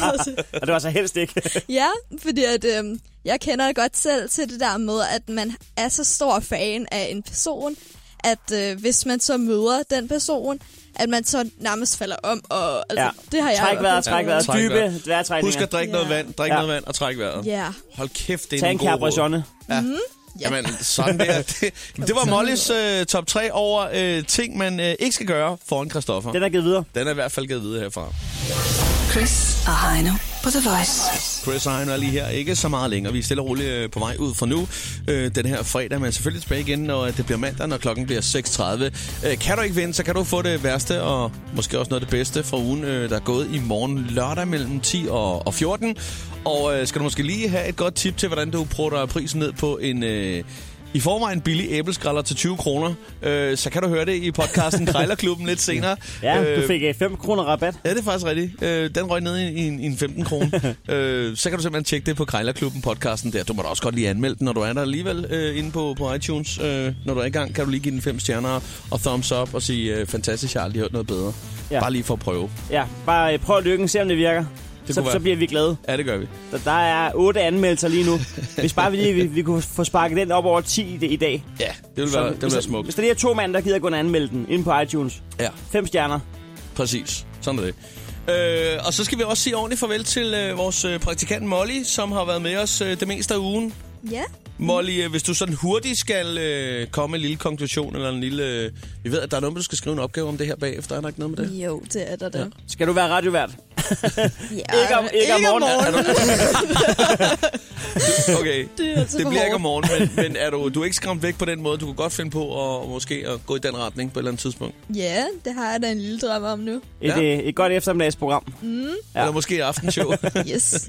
Speaker 3: Og det var så helst ikke.
Speaker 11: Ja, fordi at, øh, jeg kender godt selv til det der med, at man er så stor fan af en person, at øh, hvis man så møder den person, at man så nærmest falder om. Og, altså, ja. Det har jeg
Speaker 3: Træk
Speaker 11: i
Speaker 3: vejret,
Speaker 11: hvert fald
Speaker 3: træk vejret.
Speaker 2: Ja, træk vejret.
Speaker 3: Dybe dværtrækninger.
Speaker 2: Husk at drikke noget vand, drik
Speaker 3: Ja.
Speaker 2: noget vand og træk vejret.
Speaker 11: Ja.
Speaker 2: Hold kæft, det er
Speaker 3: Tag en
Speaker 2: en god råd.
Speaker 3: Capricorne.
Speaker 2: Ja.
Speaker 11: Mm. Ja.
Speaker 2: Jamen, sådan der. Det, det var Mollys øh, top 3 over øh, ting, man øh, ikke skal gøre foran Christoffer.
Speaker 3: Den er givet videre.
Speaker 2: Den er i hvert fald givet videre herfra.
Speaker 1: Chris og Heino på The Voice.
Speaker 2: Chris og Heino er lige her. Ikke så meget længere. Vi er stille og roligt øh, på vej ud fra nu. Øh, den her fredag, men selvfølgelig tilbage igen, når øh, det bliver mandag, når klokken bliver 6.30. Øh, kan du ikke vinde, så kan du få det værste og måske også noget af det bedste fra ugen, øh, der er gået i morgen lørdag mellem 10 og, og 14. Og øh, skal du måske lige have et godt tip til, hvordan du prutter prisen ned på en... Øh, i forvejen billig æbleskræller til 20 kroner, øh, så kan du høre det i podcasten Krejlerklubben lidt senere.
Speaker 3: Ja, du
Speaker 2: Øh,
Speaker 3: fik 5 kroner rabat.
Speaker 2: Ja, det er faktisk rigtigt. Øh, den røg ned i, i, en- i en 15 kroner. øh, så kan du simpelthen tjekke det på Krejlerklubben podcasten der. Du må da også godt lige anmelde den, når du er der alligevel øh, inde på, på iTunes. Øh, når du er i gang, kan du lige give den fem stjerner og thumbs up og sige, øh, fantastisk, jeg har aldrig hørt noget bedre.
Speaker 3: Ja.
Speaker 2: Ja. Bare lige for at prøve.
Speaker 3: Ja, bare øh, prøv lykken, se om det virker.
Speaker 2: Det
Speaker 3: så,
Speaker 2: kunne være.
Speaker 3: så bliver vi glade.
Speaker 2: Ja, det gør vi.
Speaker 3: Der, der er otte anmeldelser lige nu. Hvis bare vi lige vi, vi kunne få sparket den op over 10 i, det- i dag.
Speaker 2: Ja, det vil være, det vil
Speaker 3: hvis,
Speaker 2: være
Speaker 3: Hvis
Speaker 2: smukt.
Speaker 3: der lige er to mand, der gider gå ind og anmelde den inde på iTunes.
Speaker 2: Ja,
Speaker 3: Fem stjerner.
Speaker 2: præcis. Sådan er det. Øh, og så skal vi også sige ordentligt farvel til øh, vores øh, praktikant Molly, som har været med os øh, det meste af ugen.
Speaker 11: Ja.
Speaker 2: Molly, øh, hvis du sådan hurtigt skal øh, komme med en lille konklusion, eller en lille... Øh, vi ved, at der er noget, med, du skal skrive en opgave om det her bagefter. Er der ikke noget med det?
Speaker 11: Jo, det er der da.
Speaker 3: Skal du være radiovært?
Speaker 11: Ja.
Speaker 3: Ikke om- ikke om morgenen.
Speaker 2: Okay,
Speaker 11: Det er altså
Speaker 2: det
Speaker 11: for
Speaker 2: bliver ikke om
Speaker 11: hårdt.
Speaker 2: morgenen, men, men er du, du er ikke skræmt væk på den måde. Du kunne godt finde på at, måske at gå i den retning på et eller andet tidspunkt.
Speaker 11: Ja, det har jeg da en lille drøm om nu.
Speaker 3: Et,
Speaker 2: Ja.
Speaker 3: ja. et, et godt eftermiddagsprogram.
Speaker 2: Ja. Eller måske i aftenshow.
Speaker 11: Yes.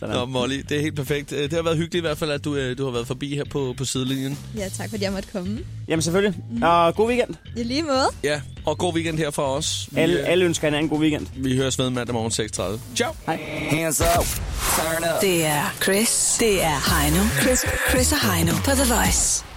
Speaker 3: Sådan.
Speaker 2: Nå, Molly, det er helt perfekt. Øh, Det har været hyggeligt i hvert fald, at du, øh, du har været forbi her på, på sidelinjen.
Speaker 11: Ja, tak fordi jeg måtte komme.
Speaker 3: Jamen selvfølgelig. Og god weekend.
Speaker 11: I lige måde.
Speaker 2: Ja, og god weekend her fra os. Vi,
Speaker 3: Alle,
Speaker 2: øh,
Speaker 3: alle ønsker hinanden en god weekend.
Speaker 2: vi høres ved mandag morgen 6.30. Ciao!
Speaker 7: Hands up. Turn up.
Speaker 1: Det er Chris. Det er Heino. Chris, Chris og Heino på The Voice.